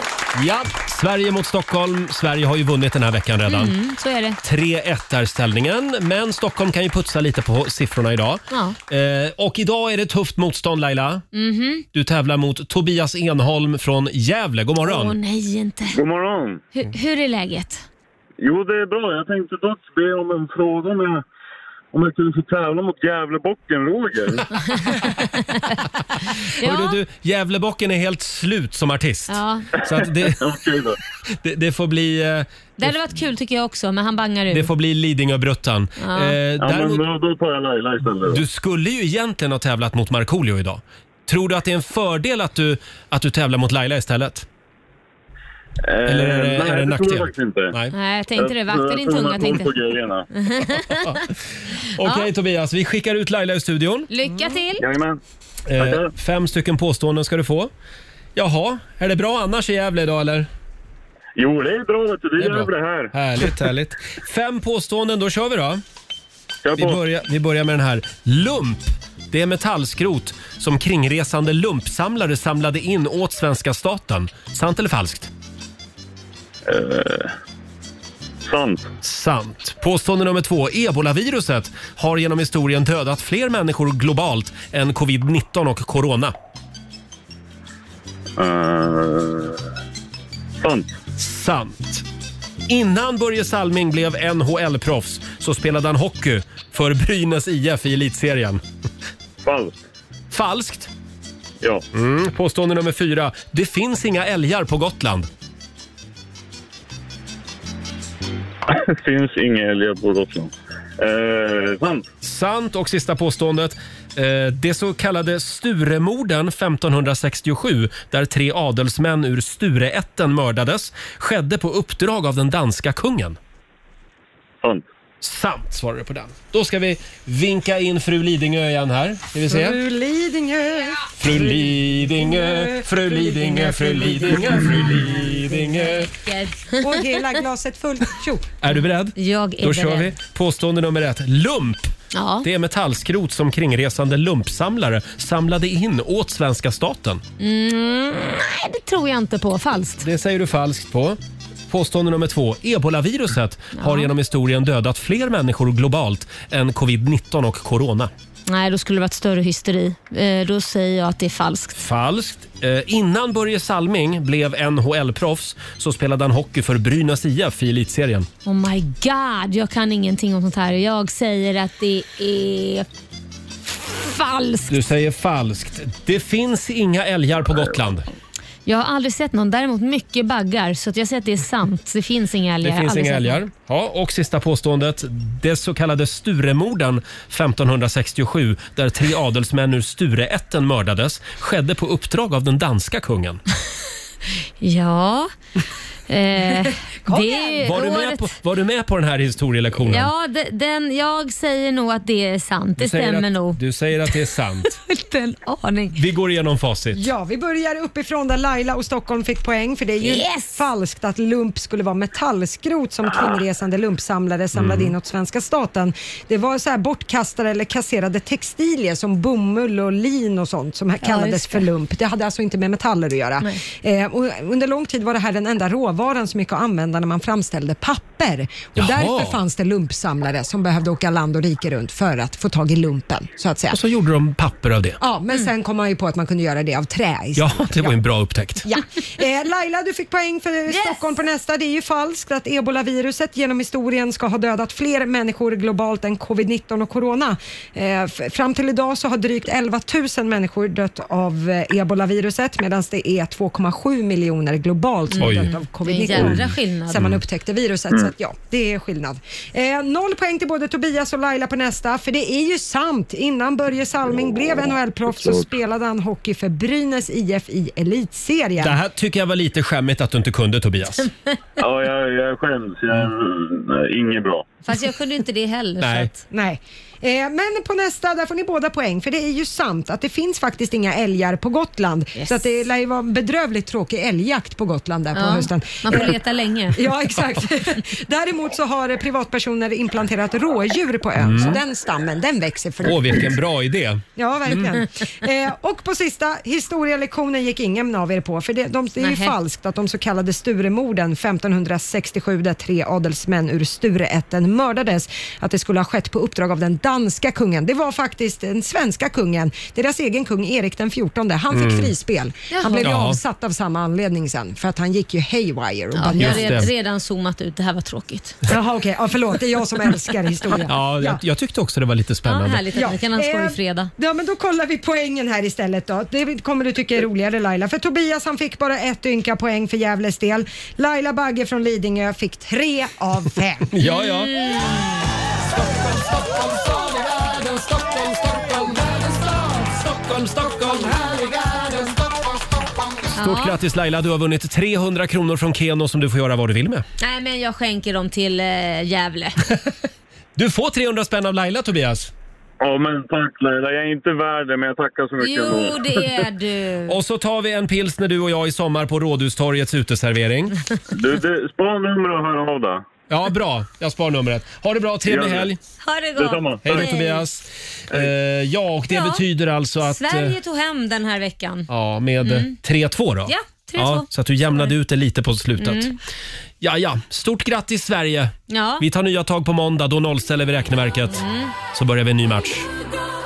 Ja, Sverige mot Stockholm. Sverige har ju vunnit den här veckan redan. Mm, så är det. 3-1 är ställningen, men Stockholm kan ju putsa lite på siffrorna idag. Ja. Eh, och idag är det tufft motstånd Laila. Mhm. Du tävlar mot Tobias Enholm från Gävle. God morgon! Åh nej, inte. God morgon. Hur, Mm. hur är läget? Jo, det är bra. Jag tänkte dock be om en fråga om jag, om jag kunde få tävla mot Gävlebocken, Roger. Hörde du, Gävlebocken är helt slut som artist. Ja. Så att det, Okej då. det, det får bli... eh, Det hade varit kul tycker jag också, men han bangar ur. Det får bli Lidingöbruttan. Eh, Ja. Ja, men då, då tar jag Laila istället. du skulle ju egentligen ha tävlat mot Markoolio idag. Tror du att det är en fördel att du, att du tävlar mot Laila istället? Eller är det, Eh, nej, är det en det tror nackdel? jag faktiskt inte. Nej. Nej, jag tänkte det. Vakta din tunga tänkte jag. tror man kom på grejerna. Okej Tobias, vi skickar ut Laila ur studion. Lycka till! Jajamän. Eh, fem stycken påståenden ska du få. Jaha, är det bra annars i Gävle idag eller? Jo, det är bra. Vet du. Det Det är är bra. Gävle här. Härligt, härligt. Fem påståenden, då kör vi då. Kör Vi på. börjar, vi börjar med den här. Lump! Det är metallskrot som kringresande lumpsamlare samlade in åt svenska staten. Sant eller falskt? Eh, sant. Sant. Påstående nummer två. Ebola-viruset har genom historien dödat fler människor globalt än covid-19 och corona. Eh, sant. Sant. Innan Börje Salming blev NHL-proffs så spelade han hockey för Brynäs IF i elitserien. Falskt. Falskt. Ja. Mm. Påstående nummer fyra. Det finns inga älgar på Gotland. Det finns inga älgar på Gotland. Eh, sant. Sant och sista påståendet. Eh, Det så kallade Sturemorden 1567, där tre adelsmän ur Stureätten mördades, skedde på uppdrag av den danska kungen. Sant. Sant svarar du på den. Då ska vi vinka in fru Lidingö igen här. Ska vi se? Fru Lidingö. Fru Lidingö, fru Lidingö, fru Lidingö, fru Lidingö. Och hela glaset fullt. Tjo. Är du beredd? Jag Då kör vi. Påstående nummer ett. Lump. Ja. Det är metallskrot som kringresande lumpsamlare samlade in åt svenska staten. Mm, nej, det tror jag inte på. Falskt. Det säger du falskt på. Påstående nummer två. Ebola-viruset har genom historien dödat fler människor globalt än covid-19 och corona. Nej, då skulle det varit större hysteri. Eh, då säger jag att det är falskt. Falskt. Eh, innan Börje Salming blev NHL-proffs så spelade han hockey för Brynäs IF i elitserien. Oh my god, jag kan ingenting om sånt här. Jag säger att det är falskt. Du säger falskt. Det finns inga älgar på Gotland. Jag har aldrig sett någon, däremot mycket baggar. Så att jag säger att det är sant. Det finns inga älgar. Jag Det har finns aldrig inga sett älgar. någon. Ja, och sista påståendet. Det så kallade Sturemorden 1567 där tre adelsmän ur Stureätten mördades skedde på uppdrag av den danska kungen. Ja. Eh, Kom det Var du, med året- på, var du med på den här historielektionen? Ja, de- den, jag säger nog att det är sant. Du Det säger stämmer att, nog. Du säger att det är sant. Inte en aning. Vi går igenom facit. Ja, vi börjar uppifrån där Laila och Stockholm fick poäng för det är ju falskt att lump skulle vara metallskrot som kringresande lumpsamlare samlade Mm. in åt svenska staten. Det var så här bortkastade eller kasserade textilier som bomull och lin och sånt som här Ja, kallades just det. för lump. Det hade alltså inte med metaller att göra. Eh, och under lång tid var det här den enda råvaran som gick att använda när man framställde papper. Och Jaha. därför fanns det lumpsamlare som behövde åka land och rike runt för att få tag i lumpen, så att säga. Och så Mm. gjorde de papper av det. Ja, men sen kom man ju på att man kunde göra det av trä Ja, istället. det var ju en bra upptäckt. Ja. Eh, Laila, du fick poäng för Stockholm på nästa. Det är ju falskt att ebolaviruset genom historien ska ha dödat fler människor globalt än covid-19 och corona. Eh, f- fram till idag så har drygt 11 000 människor dött av eh, ebolaviruset medan det är 2,7 miljoner globalt som har Oj. dött av Det är en covid-19. jädra skillnad. Sen man Mm. upptäckte viruset. Mm. Så att, ja, det är skillnad. Eh, noll poäng till både Tobias och Laila på nästa, för det är ju sant. Innan Börje Salming blev NHL-proffs så såklart. spelade han hockey för Brynäs IF i elitserien. Det här tycker jag var lite skämmigt att du inte kunde Tobias. Ja, jag, jag skäms. Jag, nej, inget bra. Fast jag kunde inte det heller. Nej. Så att, Nej. Eh, men på nästa, där får ni båda poäng, för det är ju sant att det finns faktiskt inga älgar på Gotland. Så att det lär ju vara en bedrövligt tråkig älgjakt på Gotland där på Ja, hösten. man får Eh, leta länge. Ja, exakt. Däremot så har eh, privatpersoner implanterat rådjur på ön, Mm. så den stammen den växer för Åh, vilken bra idé. Ja, verkligen. Eh, och på sista historielektionen gick ingen av er på, för det, de, det är ju Nähä. falskt att de så kallade Sturemorden 1567, där tre adelsmän ur Stureätten mördades, att det skulle ha skett på uppdrag av den danska kungen. Det var faktiskt den svenska kungen, deras egen kung Erik den 14. Han fick Mm. frispel. Jaha. Han blev ju Ja. avsatt av samma anledning sen, för att han gick ju haywire. Och ja, jag Just det. har redan zoomat ut. Det här var tråkigt. Jaha, okej. Ja, förlåt. Det är jag som älskar historia. Ja, jag, jag tyckte också det var lite Ja, spännande. härligt att vi kan ha en skoj Eh, fredag. Ja, men då kollar vi poängen här istället då. Det kommer du tycka är roligare Laila. För Tobias han fick bara ett ynka poäng för Gävles del. Laila Bagge från Lidingö fick tre av fem. Ja, ja. Stockholm, Stockholm, härliga den Stockholm, Stockholm. Stort Ja. grattis Laila, du har vunnit 300 kronor från Keno som du får göra vad du vill med. Nej, men jag skänker dem till eh, Gävle. Du får 300 spänn av Laila Tobias. Ja, men tack Laila. Jag är inte värd det, men jag tackar så mycket Jo, det är du. Och så tar vi en pils när du och jag i sommar på Rådhustorgets uteservering. Du, du spar nummer och hör av dig. Ja, bra. Jag spar numret. Ha det bra, trevlig Gör det. helg. Ha det gott. Hej då Tobias. Eh, ja, och det Ja. betyder alltså att... eh, Sverige tog hem den här veckan. Ja, med eh, Mm. 3-2 då. Ja, 3-2. så att du jämnade ut det lite på slutet. Mm. Ja, ja. Stort grattis Sverige. Ja. Vi tar nya tag på måndag. Då nollställer vi räkneverket. Mm. Så börjar vi en ny match.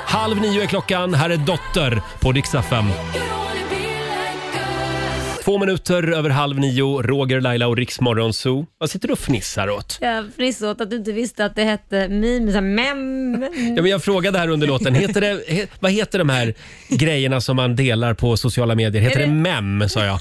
Halv nio är klockan. Här är Dotter på Dix FM. Två minuter över halv nio. Roger, Laila och Rix Morgonzoo. Vad sitter du och fnissar åt? Jag fnissade åt att du inte visste att det hette meme. så här, Mem. Ja, men jag frågade här under låten, heter det, he, vad heter de här grejerna som man delar på sociala medier? Heter Är det det- mem, sa jag.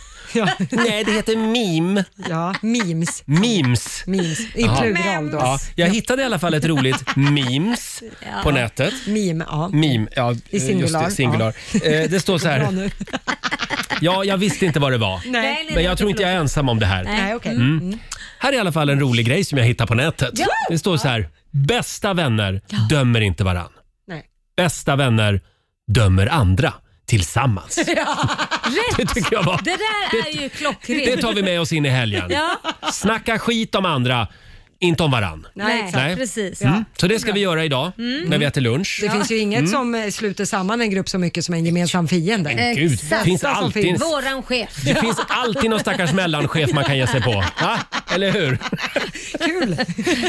Nej, det heter meme. Ja, memes. Memes. Memes. I Jaha. plural då. Ja, jag hittade i alla fall ett roligt memes Ja. på nätet. Meme, ja. Meme, ja, I singular. Just det, singular. Ja. Eh, det står så Bra här. nu. Ja, jag visste inte vad det var. Nej. Nej, nej, Men nej, jag tror inte jag är ensam om det här. Nej, okej. Mm. Här är i alla fall en rolig grej som jag hittade på nätet. Ja. Det står så här. Bästa vänner dömer inte varann. Nej. Bästa vänner dömer andra tillsammans. Rätt! Det tycker jag var- Det där är ju klockrent. Det tar vi med oss in i helgen. Ja. Snacka skit om andra, inte om varann. Nej, exakt. Precis. Mm. Ja. Så det ska vi göra idag Mm. när vi äter lunch. Det finns ju inget Mm. som eh, sluter samman en grupp så mycket som en gemensam fiende. Men gud, det Exakt. finns Som alltid- finns. Våran chef. Det finns alltid någon stackars mellanchef man kan ge sig på. Va? Eller hur? Kul!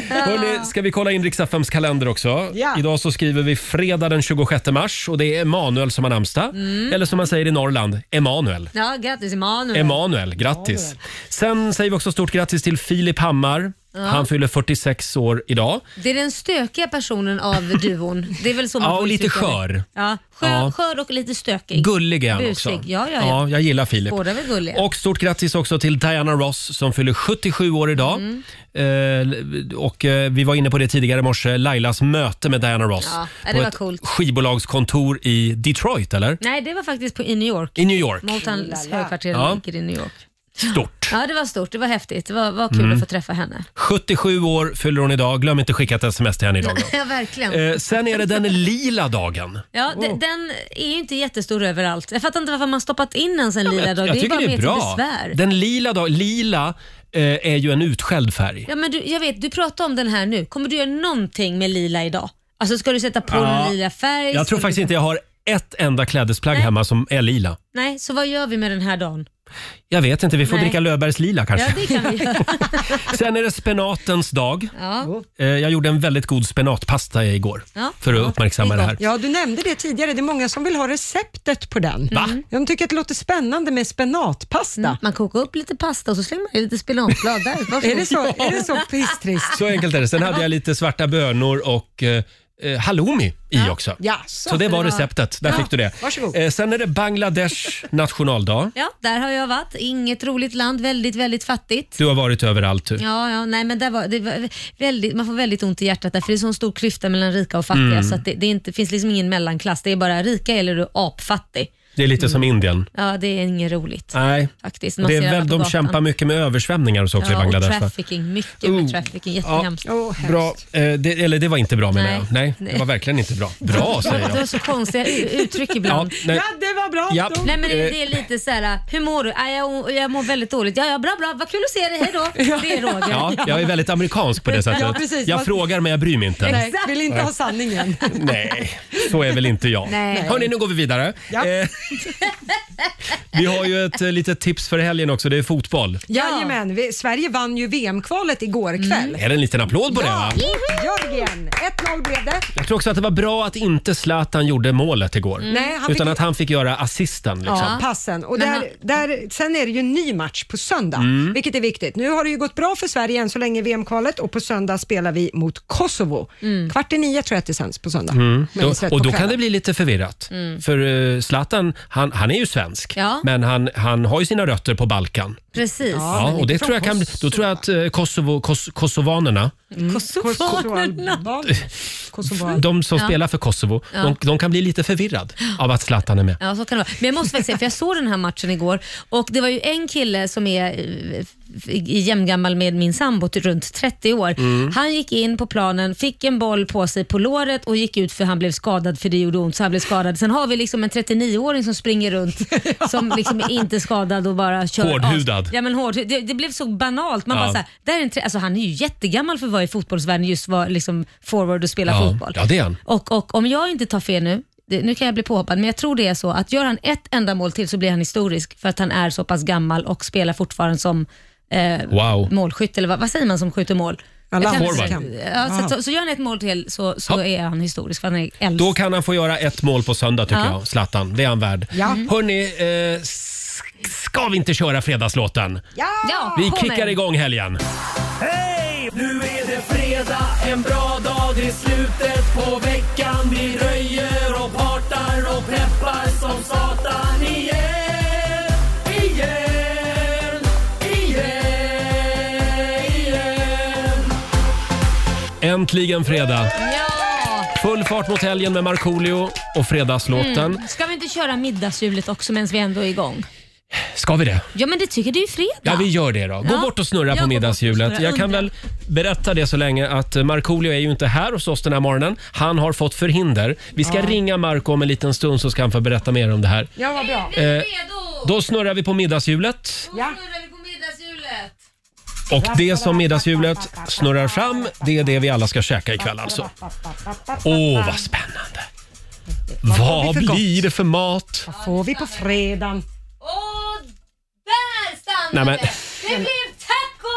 Hörrni, ska vi kolla in riks kalender också? Ja. Idag så skriver vi fredag den 26 mars och det är Emanuel som har namnsdag. Mm. Eller som man säger i Norrland, Emanuel. Ja, grattis Emanuel. Emanuel, grattis! Sen säger vi också stort grattis till Filip Hammar. Ja. Han fyller 46 år idag. Det är den stökiga personen av duon. Det är väl så man Ja, får och lite uttrycka det. skör. Ja, skör, Ja. skör och lite stökig. Gullig är han Busig. också. Ja, ja, ja. jag gillar Filip. Båda är väl gulliga. Och stort grattis också till Diana Ross som fyller 77 år idag. Mm. Eh, och eh, vi var inne på det tidigare i morse, Lailas möte med Diana Ross. Ja, det på var ett coolt. skivbolagskontor i Detroit, eller? Nej, det var faktiskt på, i New York. I New York. Motans högkvarter Ja. ligger i New York. Stort. Ja, det var stort. Det var häftigt. Det var, var kul Mm. att få träffa henne. 77 år fyller hon idag. Glöm inte att skicka ett sms till henne idag. då. Ja, verkligen. Oh. Eh, sen är det den lila dagen. Ja, de- Den är ju inte jättestor överallt. Jag fattar inte varför man stoppat in ens en lila jag dag. det är ju tycker bara det är mer till bra. besvär. Den lila dagen, lila eh, är ju en utskälld färg. Ja, men du, jag vet, du pratar om den här nu. Kommer du göra någonting med lila idag? Alltså ska du sätta på Ja. en lila färg? Jag tror Ska faktiskt du... inte jag har ett enda klädesplagg hemma som är lila. Nej, så vad gör vi med den här dagen? Jag vet inte, vi får Nej. dricka Löfbergs lila kanske. Ja, det kan vi göra. Sen är det spenatens dag. Ja. Eh, Jag gjorde en väldigt god spenatpasta igår Ja. för att uppmärksamma det här. Ja, du nämnde det tidigare. Det är många som vill ha receptet på den. Mm. Va? De tycker att det låter spännande med spenatpasta. Man kokar upp lite pasta och så slänger man i lite spenatblad där. Varsågod. är det så, är det så pisstrist? Så enkelt är det. Sen hade jag lite svarta bönor och eh, eh, halloumi i också. Ja, så, så det det var var- receptet. Där Ja, fick du det. varsågod. Eh, Sen är det Bangladesh nationaldag. Ja, där har jag varit. Inget roligt land, väldigt, väldigt fattigt. Du har varit överallt du. Ja, ja, nej men där var, det var väldigt, man får väldigt ont i hjärtat där, för det är sån stor klyfta mellan rika och fattiga Mm. så att det, det är inte, finns liksom ingen mellanklass. Det är bara rika eller du är apfattig. Det är lite som Mm. Indien. Ja, det är inget roligt. Nej. Faktiskt, Och Det är masserar väl, på de gatan. kämpar mycket med översvämningar och så också i ja, och Bangladesh. va? Oh. trafficking, mycket med trafficking. Jättehemskt. Bra. Eh, det, eller det var inte bra menar Nej. jag. Nej, det Nej. var verkligen inte bra. Bra säger Du har jag. så konstiga u- uttryck ibland. Ja, nej. Ja, det var bra. Ja. Nej, men det, Eh. det är lite så här, hur mår du? Äh, jag, jag mår väldigt dåligt. Ja, ja, bra, bra. Vad kul att se dig. Hej då. Det är Roger. Ja, jag är väldigt amerikansk på det sättet. Ja, precis. jag Vad- frågar men jag bryr mig inte. Nej, vill inte Nej. ha sanningen. Nej, så är väl inte jag. Nej. Hörni, nu går vi vidare. Ja. Eh, vi har ju ett eh, litet tips för helgen också. Det är fotboll. Jajamän, vi, Sverige vann ju VM-kvalet igår Mm. kväll. Är det en liten applåd på det? Va? Jörgen, 1-0 blev det. Jag tror också att det var bra att inte Zlatan gjorde målet igår. Mm. Nej, han utan fick- att han fick göra assisten. Liksom. Ja, passen. Och där, där, sen är det ju en ny match på söndag, Mm. vilket är viktigt. Nu har det ju gått bra för Sverige än så länge i VM-kvalet och på söndag spelar vi mot Kosovo. Kvart i nio tror jag att det sänds på söndag. Mm. Men Då, det sänds och på då kan kvällen. det bli lite förvirrat. Mm. För eh, Zlatan, han, han är ju svensk, Ja. men han, han har ju sina rötter på Balkan. Precis. Ja, och det tror jag kan, då tror jag att eh, Kosovo, kos, kosovanerna, Mm. Kosovoalbaner. Kosovoalbaner. de som Ja. spelar för Kosovo, Ja. de, de kan bli lite förvirrad av att Zlatan är med. Ja, så kan det vara. Men jag måste faktiskt säga, för jag såg den här matchen igår och det var ju en kille som är eh, i- jämngammal med min sambo, till runt 30 år. Mm. Han gick in på planen, fick en boll på sig på låret och gick ut för han blev skadad för det gjorde ont så han blev skadad. Sen har vi liksom en 39-åring som springer runt som liksom är inte är skadad och bara kör av. Hårdhudad. Ja, men hård, det, det blev så banalt. Man Ja. bara så här, där är en, tre- alltså, han är ju jättegammal för att vara i fotbollsvärlden, just vara liksom forward och spela Ja, fotboll. ja, det är han. Och, och om jag inte tar fel nu, det, nu kan jag bli påhoppad, men jag tror det är så att gör han ett enda mål till så blir han historisk för att han är så pass gammal och spelar fortfarande som eh, Wow. målskytt, eller vad, vad säger man som skjuter mål? Ja, Jag kan- forward. Ja, så, så, så gör han ett mål till så, så är han historisk för han är äldst. Då kan han få göra ett mål på söndag tycker Ja. jag, Zlatan. Det är han värd. Ja. Hörni, eh, s- ska vi inte köra fredagslåten? Ja! ja Vi på kickar mig. igång helgen. Hej! Nu är det fredag, en bra dag, det är slutet på veckan. Vi röjer och partar och peppar som satan igen, igen. Äntligen fredag! Ja! Full fart mot helgen med Markoolio och fredagslåten. Mm. Ska vi inte köra middagshjulet också medan vi ändå är igång? Ska vi det? Ja, men det tycker du är ju fredag. Ja, vi gör det då. Gå Ja. bort och snurra Jag går på bort och middagshjulet. snurrar. Jag kan väl berätta det så länge att eh, Markoolio är ju inte här hos oss den här morgonen. Han har fått förhinder. Vi ska Ja. ringa Marco om en liten stund så ska han få berätta mer om det här. Ja, vad bra. Eh, då snurrar vi på middagshjulet. Ja. Och det som middagshjulet snurrar fram, det är det vi alla ska käka ikväll alltså. Åh, vad spännande! Vad blir det för mat? Vad får vi på fredagen? Där stannade Nej, men- det! Det blev taco!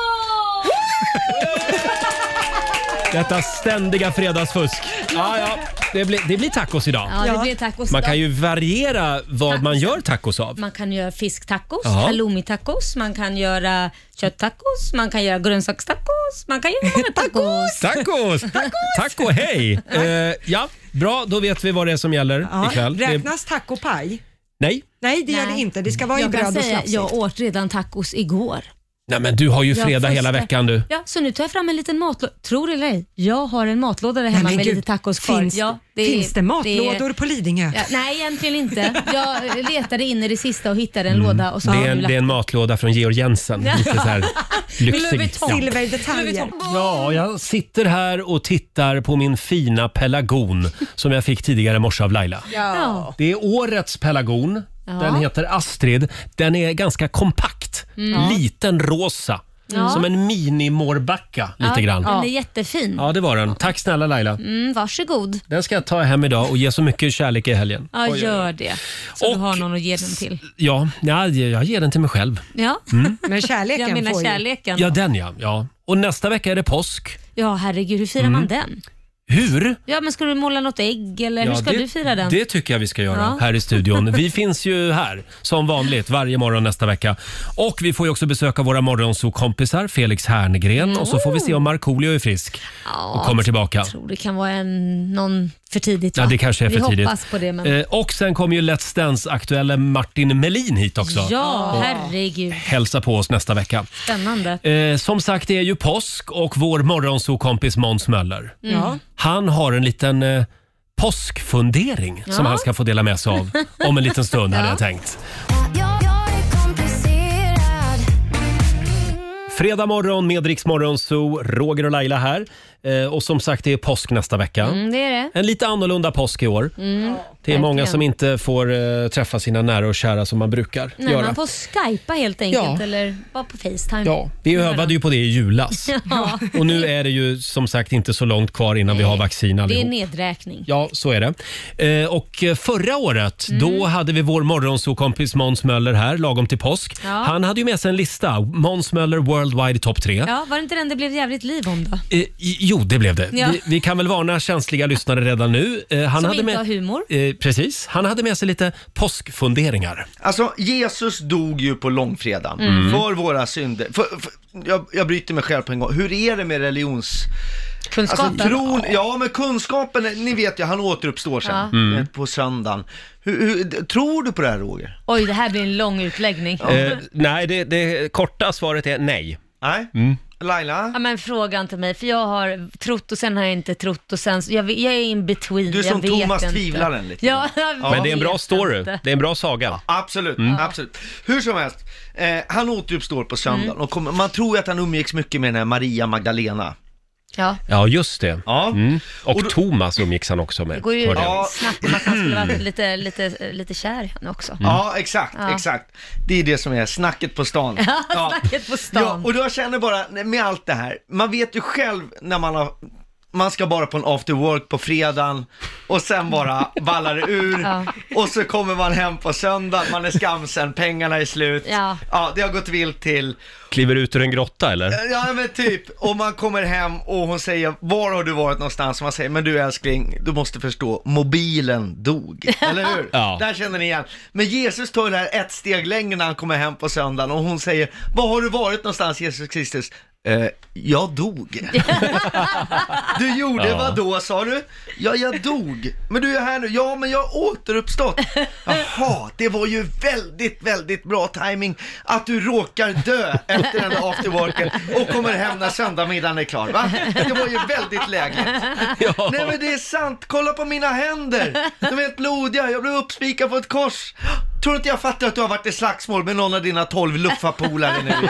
Detta ständiga fredagsfusk. Ja, ja. Det, blir, det blir tacos idag. Ja, det blir tacos Man idag. kan ju variera vad man gör tacos av. Man kan göra fisktacos, Ja. halloumitacos, man kan göra kötttacos, man kan göra grönsakstacos, man kan göra många tacos. Tacos! Taco, hej! Eh, ja, bra. Då vet vi vad det är som gäller ikväll. Det, Räknas tacopaj? nej. Nej, det gör det inte. Det ska vara i jag kan bröd och säga, slafsigt. Jag åt redan tacos igår. nej, men du har ju Jag fredag första- hela veckan du. Ja, så nu tar jag fram en liten matlåda. Tror det eller ej, jag har en matlåda där hemma men med gud, lite tacos kvar. finns- ja, finns det matlådor på Lidingö? Ja, nej, egentligen inte. Jag letade in i det sista och hittade en låda och så Mm. Det har är, en, jag nu lagt det är en matlåda från Georg Jensen. Lite så här lyxig. Louboutin. Ja. Silverdetaljer. Ja, jag sitter här och tittar på min fina pelargon som jag fick tidigare i morse av Laila. Ja. Det är årets pelargon. Ja. Den heter Astrid. Den är ganska kompakt. Mm. Liten rosa. Ja. Som en mini-mårbacka lite grann. Den är jättefin. Ja, det var den. Tack snälla Laila. Mm, varsågod. Den ska jag ta hem idag och ge så mycket kärlek i helgen. Ja, Oj, Mm. oj, oj. gör det. Så du har någon att ge den till. Ja, ja, jag ger den till mig själv. Ja. Mm. Men kärleken Jag menar får ju- kärleken. Ja, den ja. ja. Och nästa vecka är det påsk. Ja, herregud, hur firar Mm. man den? Hur? Ja, men ska du måla något ägg eller hur Ja, ska det- du fira den? Det tycker jag vi ska göra Ja. här i studion. Vi finns ju här som vanligt varje morgon nästa vecka. Och vi får ju också besöka våra morgonsokompisar Felix Herngren och så får vi se om Markoolio är frisk och kommer tillbaka. Jag tror det kan vara en, någon för tidigt. Ja, va? det kanske är för Vi tidigt. hoppas på det. Men... Eh, Och sen kommer ju Let's Dance-aktuelle Martin Melin hit också. Ja, Och herregud. hälsa på oss nästa vecka. Spännande. Eh, som sagt, det är ju påsk och vår morgonsokompis Måns Möller. Mm. Ja. Han har en liten eh, påskfundering som Ja. han ska få dela med sig av om en liten stund hade Ja. jag tänkt. Jag, jag är komplicerad Fredag morgon med Rix Morgon Zoo, Roger och Laila här. Eh, och som sagt, det är påsk nästa vecka. Mm, det är det. En lite annorlunda påsk i år. Mm, Det är många verkligen. som inte får eh, träffa sina nära och kära som man brukar Nej, göra. man får skypa helt enkelt Ja. eller vara på Facetime. Ja, vi övade ju på det i julas. Ja. Och nu är det ju som sagt inte så långt kvar innan vi har vaccin Det är allihop. nedräkning. Ja, så är det. Eh, Och eh, förra året, Mm. då hade vi vår morgonsokompis Måns Möller här lagom till påsk. Ja. Han hade ju med sig en lista. Måns Möller Worldwide Top 3. Ja, var det inte den det blev jävligt liv om då? Eh, i- jo, det blev det. Ja. Vi, vi kan väl varna känsliga lyssnare redan nu. Eh, Som hade inte med, har humor. Eh, precis. Han hade med sig lite påskfunderingar. Alltså, Jesus dog ju på långfredagen Mm. för våra synder. För, för, jag, jag bryter mig själv på en gång. Hur är det med religions... Kunskapen. Alltså, tron, ja, men kunskapen, ni vet ju, han återuppstår sen Ja. Mm. eh, på söndagen. Hur, hur, d- tror du på det här, Roger? Oj, det här blir en lång utläggning. Eh, nej, det, det korta svaret är nej. Nej? Laila? Ja, men fråga inte mig, för jag har trott och sen har jag inte trott och sen, jag, vet- jag är in between. Du är som jag vet Thomas inte. Tvivlaren lite Ja, jag Ja. vet Men det är en bra story. inte. Det är en bra saga. absolut, Mm. absolut. Hur som helst, eh, han återuppstår på söndagen Mm. och kommer, man tror ju att han umgicks mycket med den här Maria Magdalena. Ja, Ja, just det. Mm. Och, Och då- Thomas umgicks han också med. det går ju hörde jag. snabbt om att han skulle varit lite, lite, lite kär i henne också. Mm. Ja, exakt, Ja. exakt. Det är det som är snacket på stan. Ja, snacket på stan. Ja, och då känner jag bara, med allt det här, man vet ju själv när man har man ska bara på en after work på fredagen och sen bara ballar det ur Ja. och så kommer man hem på söndag, man är skamsen, pengarna är slut. Ja. det har gått vilt till. Kliver ut ur en grotta eller? Ja men typ, och man kommer hem och hon säger var har du varit någonstans? Och man säger men du älskling, du måste förstå, mobilen dog. Eller hur? Ja. Där känner ni igen. Men Jesus tar ju det här ett steg längre när han kommer hem på söndagen och hon säger var har du varit någonstans Jesus Kristus? Eh, jag dog. du gjorde Ja. vad då sa du? Ja, jag dog. Men du är här nu. Ja, men jag har återuppstått. Jaha, det var ju väldigt, väldigt bra timing att du råkar dö efter den där afterworken och kommer hem när söndagmiddagen är klar. Va? Det var ju väldigt lägligt. Nej, men det är sant. Kolla på mina händer. De är helt blodiga. Jag blev uppspikad på ett kors. Tror du inte jag fattar att du har varit i slagsmål med någon av dina tolv luffapolare nu igen?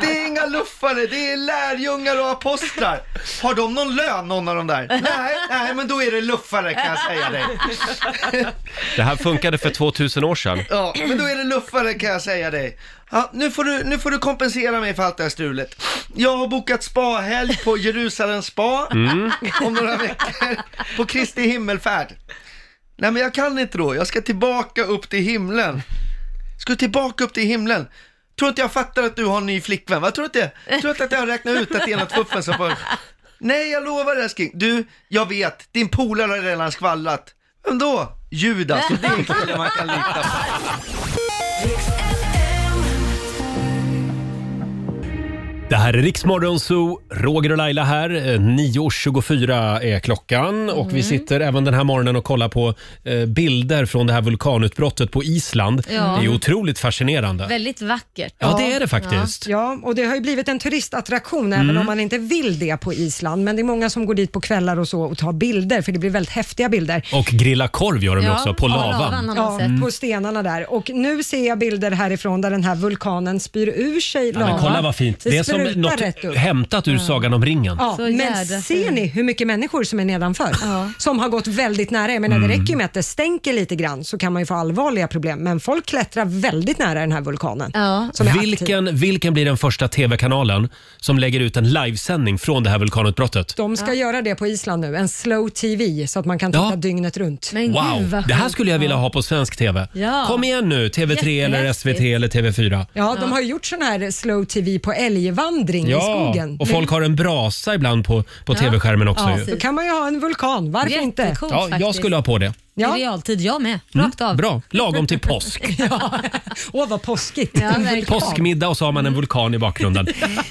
Det är inga luffare, det är lärjungar och apostlar. Har de någon lön, någon av de där? Nej, nej, men då är det luffare kan jag säga dig. Det här funkade för 2000 år sedan. Ja, men då är det luffare kan jag säga dig. Ja, nu, får du, nu får du kompensera mig för allt det här strulet. Jag har bokat spahelg på Jerusalem spa Mm. om några veckor på Kristi himmelfärd. Nej men jag kan inte då, jag ska tillbaka upp till himlen. Ska du tillbaka upp till himlen? Tror inte jag fattar att du har en ny flickvän? Vad tror du inte? Tror inte att jag har räknat ut att det är något fuffen som får... Nej, jag lovar älskling. Du, jag vet, din polare har redan skvallrat. Vem då? Judas, det är en kille man kan lita på. Det här är Riksmorgon Zoo, Roger och Laila här. Eh, 9.24 är klockan och Mm. vi sitter även den här morgonen och kollar på eh, bilder från det här vulkanutbrottet på Island. Ja. Det är otroligt fascinerande. Väldigt vackert. Ja, det är det faktiskt. Ja, och det har ju blivit en turistattraktion även Mm. om man inte vill det på Island. Men det är många som går dit på kvällar och så och tar bilder för det blir väldigt häftiga bilder. Och grilla korv gör de ju också, på lavan. Ja, Mm. på stenarna där. Och nu ser jag bilder härifrån där den här vulkanen spyr ur sig Ja, lava. men kolla vad fint. Det är som sprutar rätt något upp. hämtat ur Sagan om ringen. Ja, Så men jädra ser ni hur mycket människor som är nedanför? Som har gått väldigt nära. Jag menar, Det Mm. räcker ju med att det stänker lite grann så kan man ju få allvarliga problem. Men folk klättrar väldigt nära den här vulkanen. Som är aktiv. Vilken, vilken blir den första tv-kanalen som lägger ut en livesändning från det här vulkanutbrottet? De ska göra det på Island nu, en slow TV så att man kan titta dygnet runt. Wow, det här skulle jag vilja ha på svensk tv. Ja. Kom igen nu, TV3 eller Jättehäftigt. SVT eller TV4. Ja, de har ju gjort sån här slow TV på älgvandring i skogen. och folk har en brasa ibland på, på tv-skärmen också. Ja, ju. Då kan man ju ha en vulkan, varför inte? Ja, jag skulle ha på det. Ja. I realtid, jag med. Mm, Rakt av. Bra, lagom till påsk. Åh, vad påskigt. Påskmiddag och så har man en vulkan i bakgrunden.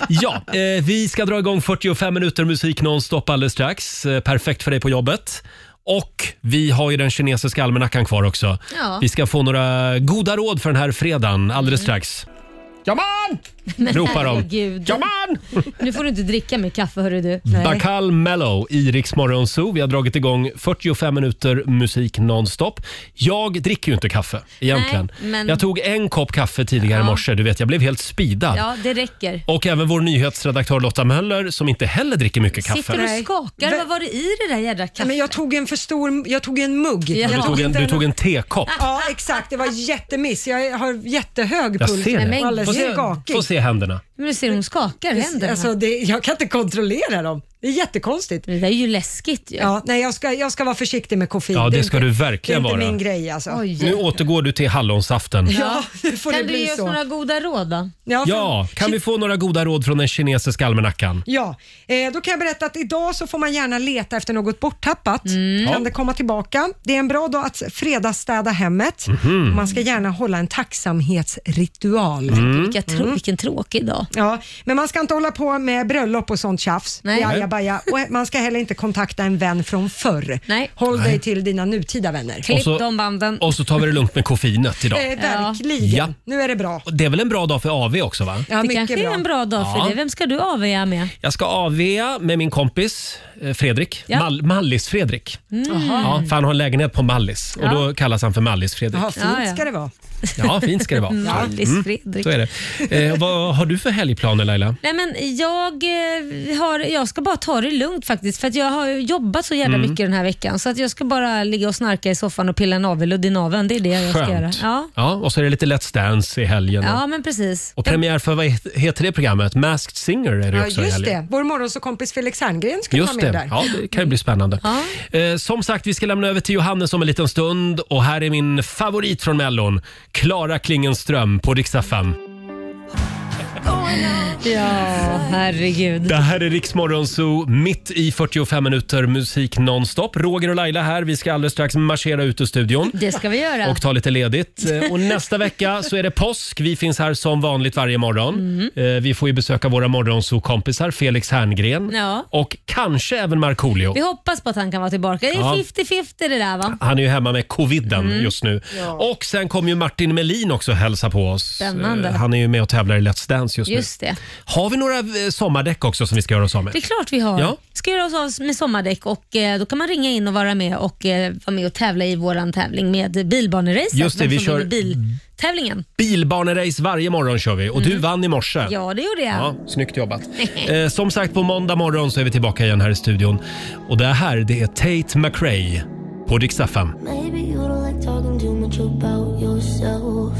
Ja, eh, vi ska dra igång 45 minuter musik nonstop alldeles strax. Eh, perfekt för dig på jobbet. Och vi har ju den kinesiska almanackan kvar också. Ja. Vi ska få några goda råd för den här fredagen alldeles strax. Jaman! Mm. Men Ropar de. herregud. Nu får du inte dricka med kaffe, hörru du. Bacal Mellow i Rix Morgon Zoo. Vi har dragit igång 45 minuter musik nonstop. Jag dricker ju inte kaffe egentligen. Nej, men- Jag tog en kopp kaffe tidigare i morse. Du vet, jag blev helt speedad. Ja, det räcker. Och även vår nyhetsredaktör Lotta Möller som inte heller dricker mycket kaffe. Sitter och skakar. Nej. Vad var det i det där jädra kaffet? Men jag tog en för stor, jag tog en mugg. Ja, Du, Jag tog en, inte du tog en tekopp. Ja, exakt. Det var jättemiss. Jag har jättehög Jag puls. ser och det. Få Alldeles se, skakig. få se händerna. Men du ser hon skakar händerna. Alltså, det, jag kan inte kontrollera dem. Det är jättekonstigt. Det är ju läskigt ju. Ja, nej, jag, ska, jag ska vara försiktig med koffein. Ja, det ska inte- du verkligen Det är inte vara. min grej alltså. Nu återgår du till hallonsaften. Ja, nu får kan det du bli ge oss så. några goda råd då? Ja, kan vi få några goda råd från den kinesiska almanackan? Ja, eh, då kan jag berätta att idag så får man gärna leta efter något borttappat. Ja. Kan det komma tillbaka? Det är en bra dag att fredagsstäda hemmet. Mhm. Man ska gärna hålla en tacksamhetsritual. Mm. Vilka trå- vilken tråkig dag. Ja, men man ska inte hålla på med bröllop och sånt tjafs. Nej. Det är ajabaja. Och man ska heller inte kontakta en vän från förr. Håll Nej. dig till dina nutida vänner. Och så- Och så tar vi det lugnt med koffeinet idag. Eh, verkligen. Ja. Nu är det bra. Och Det är väl en bra dag för AV också va? det kanske är en bra dag för Ja. dig. Vem ska du avia med? Jag ska AVa med min kompis eh, Fredrik. Ja. Mal- Mallis-Fredrik. Mm. Jaha. Ja, för han har en lägenhet på Mallis och Ja. då kallas han för Mallis-Fredrik. Jaha, Mm. fint ska det vara. Ja, fint ska det vara. Mallis-Fredrik. Mm. Så är det. Eh, vad har du för helgplaner Laila? Nej, men jag, eh, har, jag ska bara ta det lugnt faktiskt, för att jag har ju jobbat så jävla Mm. mycket den här veckan. Så att jag ska bara ligga och snarka i soffan och pilla navelludd i naveln. Det är det jag ska göra. Skönt. Ja. Ja, och så är det lite Let's Dance i helgen. ja, men precis. Och premiär för, vad het- heter det programmet? Masked Singer är det Ja, också i just helgen. det. Vår morgonsåkompis Felix Herngren ska vara Just med det. där. Ja, det kan ju bli spännande. Eh, som sagt, vi ska lämna över till Johannes om en liten stund. Och här är min favorit från Mellon, Klara Klingenström på Riksaffären. Oh, Ja, herregud. Det här är Riksmorgon Zoo, mitt i 45 minuter musik nonstop. Roger och Laila här. Vi ska alldeles strax marschera ut ur studion. Det ska vi göra. Och ta lite ledigt. Eh, Och nästa vecka så är det påsk. Vi finns här som vanligt varje morgon. Mm. Eh, Vi får ju besöka våra morgonzoo-kompisar Felix Herngren Ja. och kanske även Markoolio. Vi hoppas på att han kan vara tillbaka. Det är Ja. 50-50 det där va? Han är ju hemma med coviden Mm. just nu. Ja. Och sen kommer ju Martin Melin också hälsa på oss. Spännande. Eh, Han är ju med och tävlar i Let's Dance just, Just nu. det. Har vi några eh, sommardäck också som vi ska göra oss av med? Det är klart vi har. Ja. Ska göra oss av med sommardäck och eh, då kan man ringa in och vara med och eh, vara med och tävla i våran tävling med bilbaneracet. Just det, Vem vi som kör- vinner biltävlingen. Bilbanerace varje morgon kör vi och du vann i morse. Mm. Ja, det gjorde jag. Ja, snyggt jobbat. Eh, som sagt, på måndag morgon så är vi tillbaka igen här i studion. Och det här, det är Tate McRae på Dix FM. Maybe you don't like talking too much about yourself.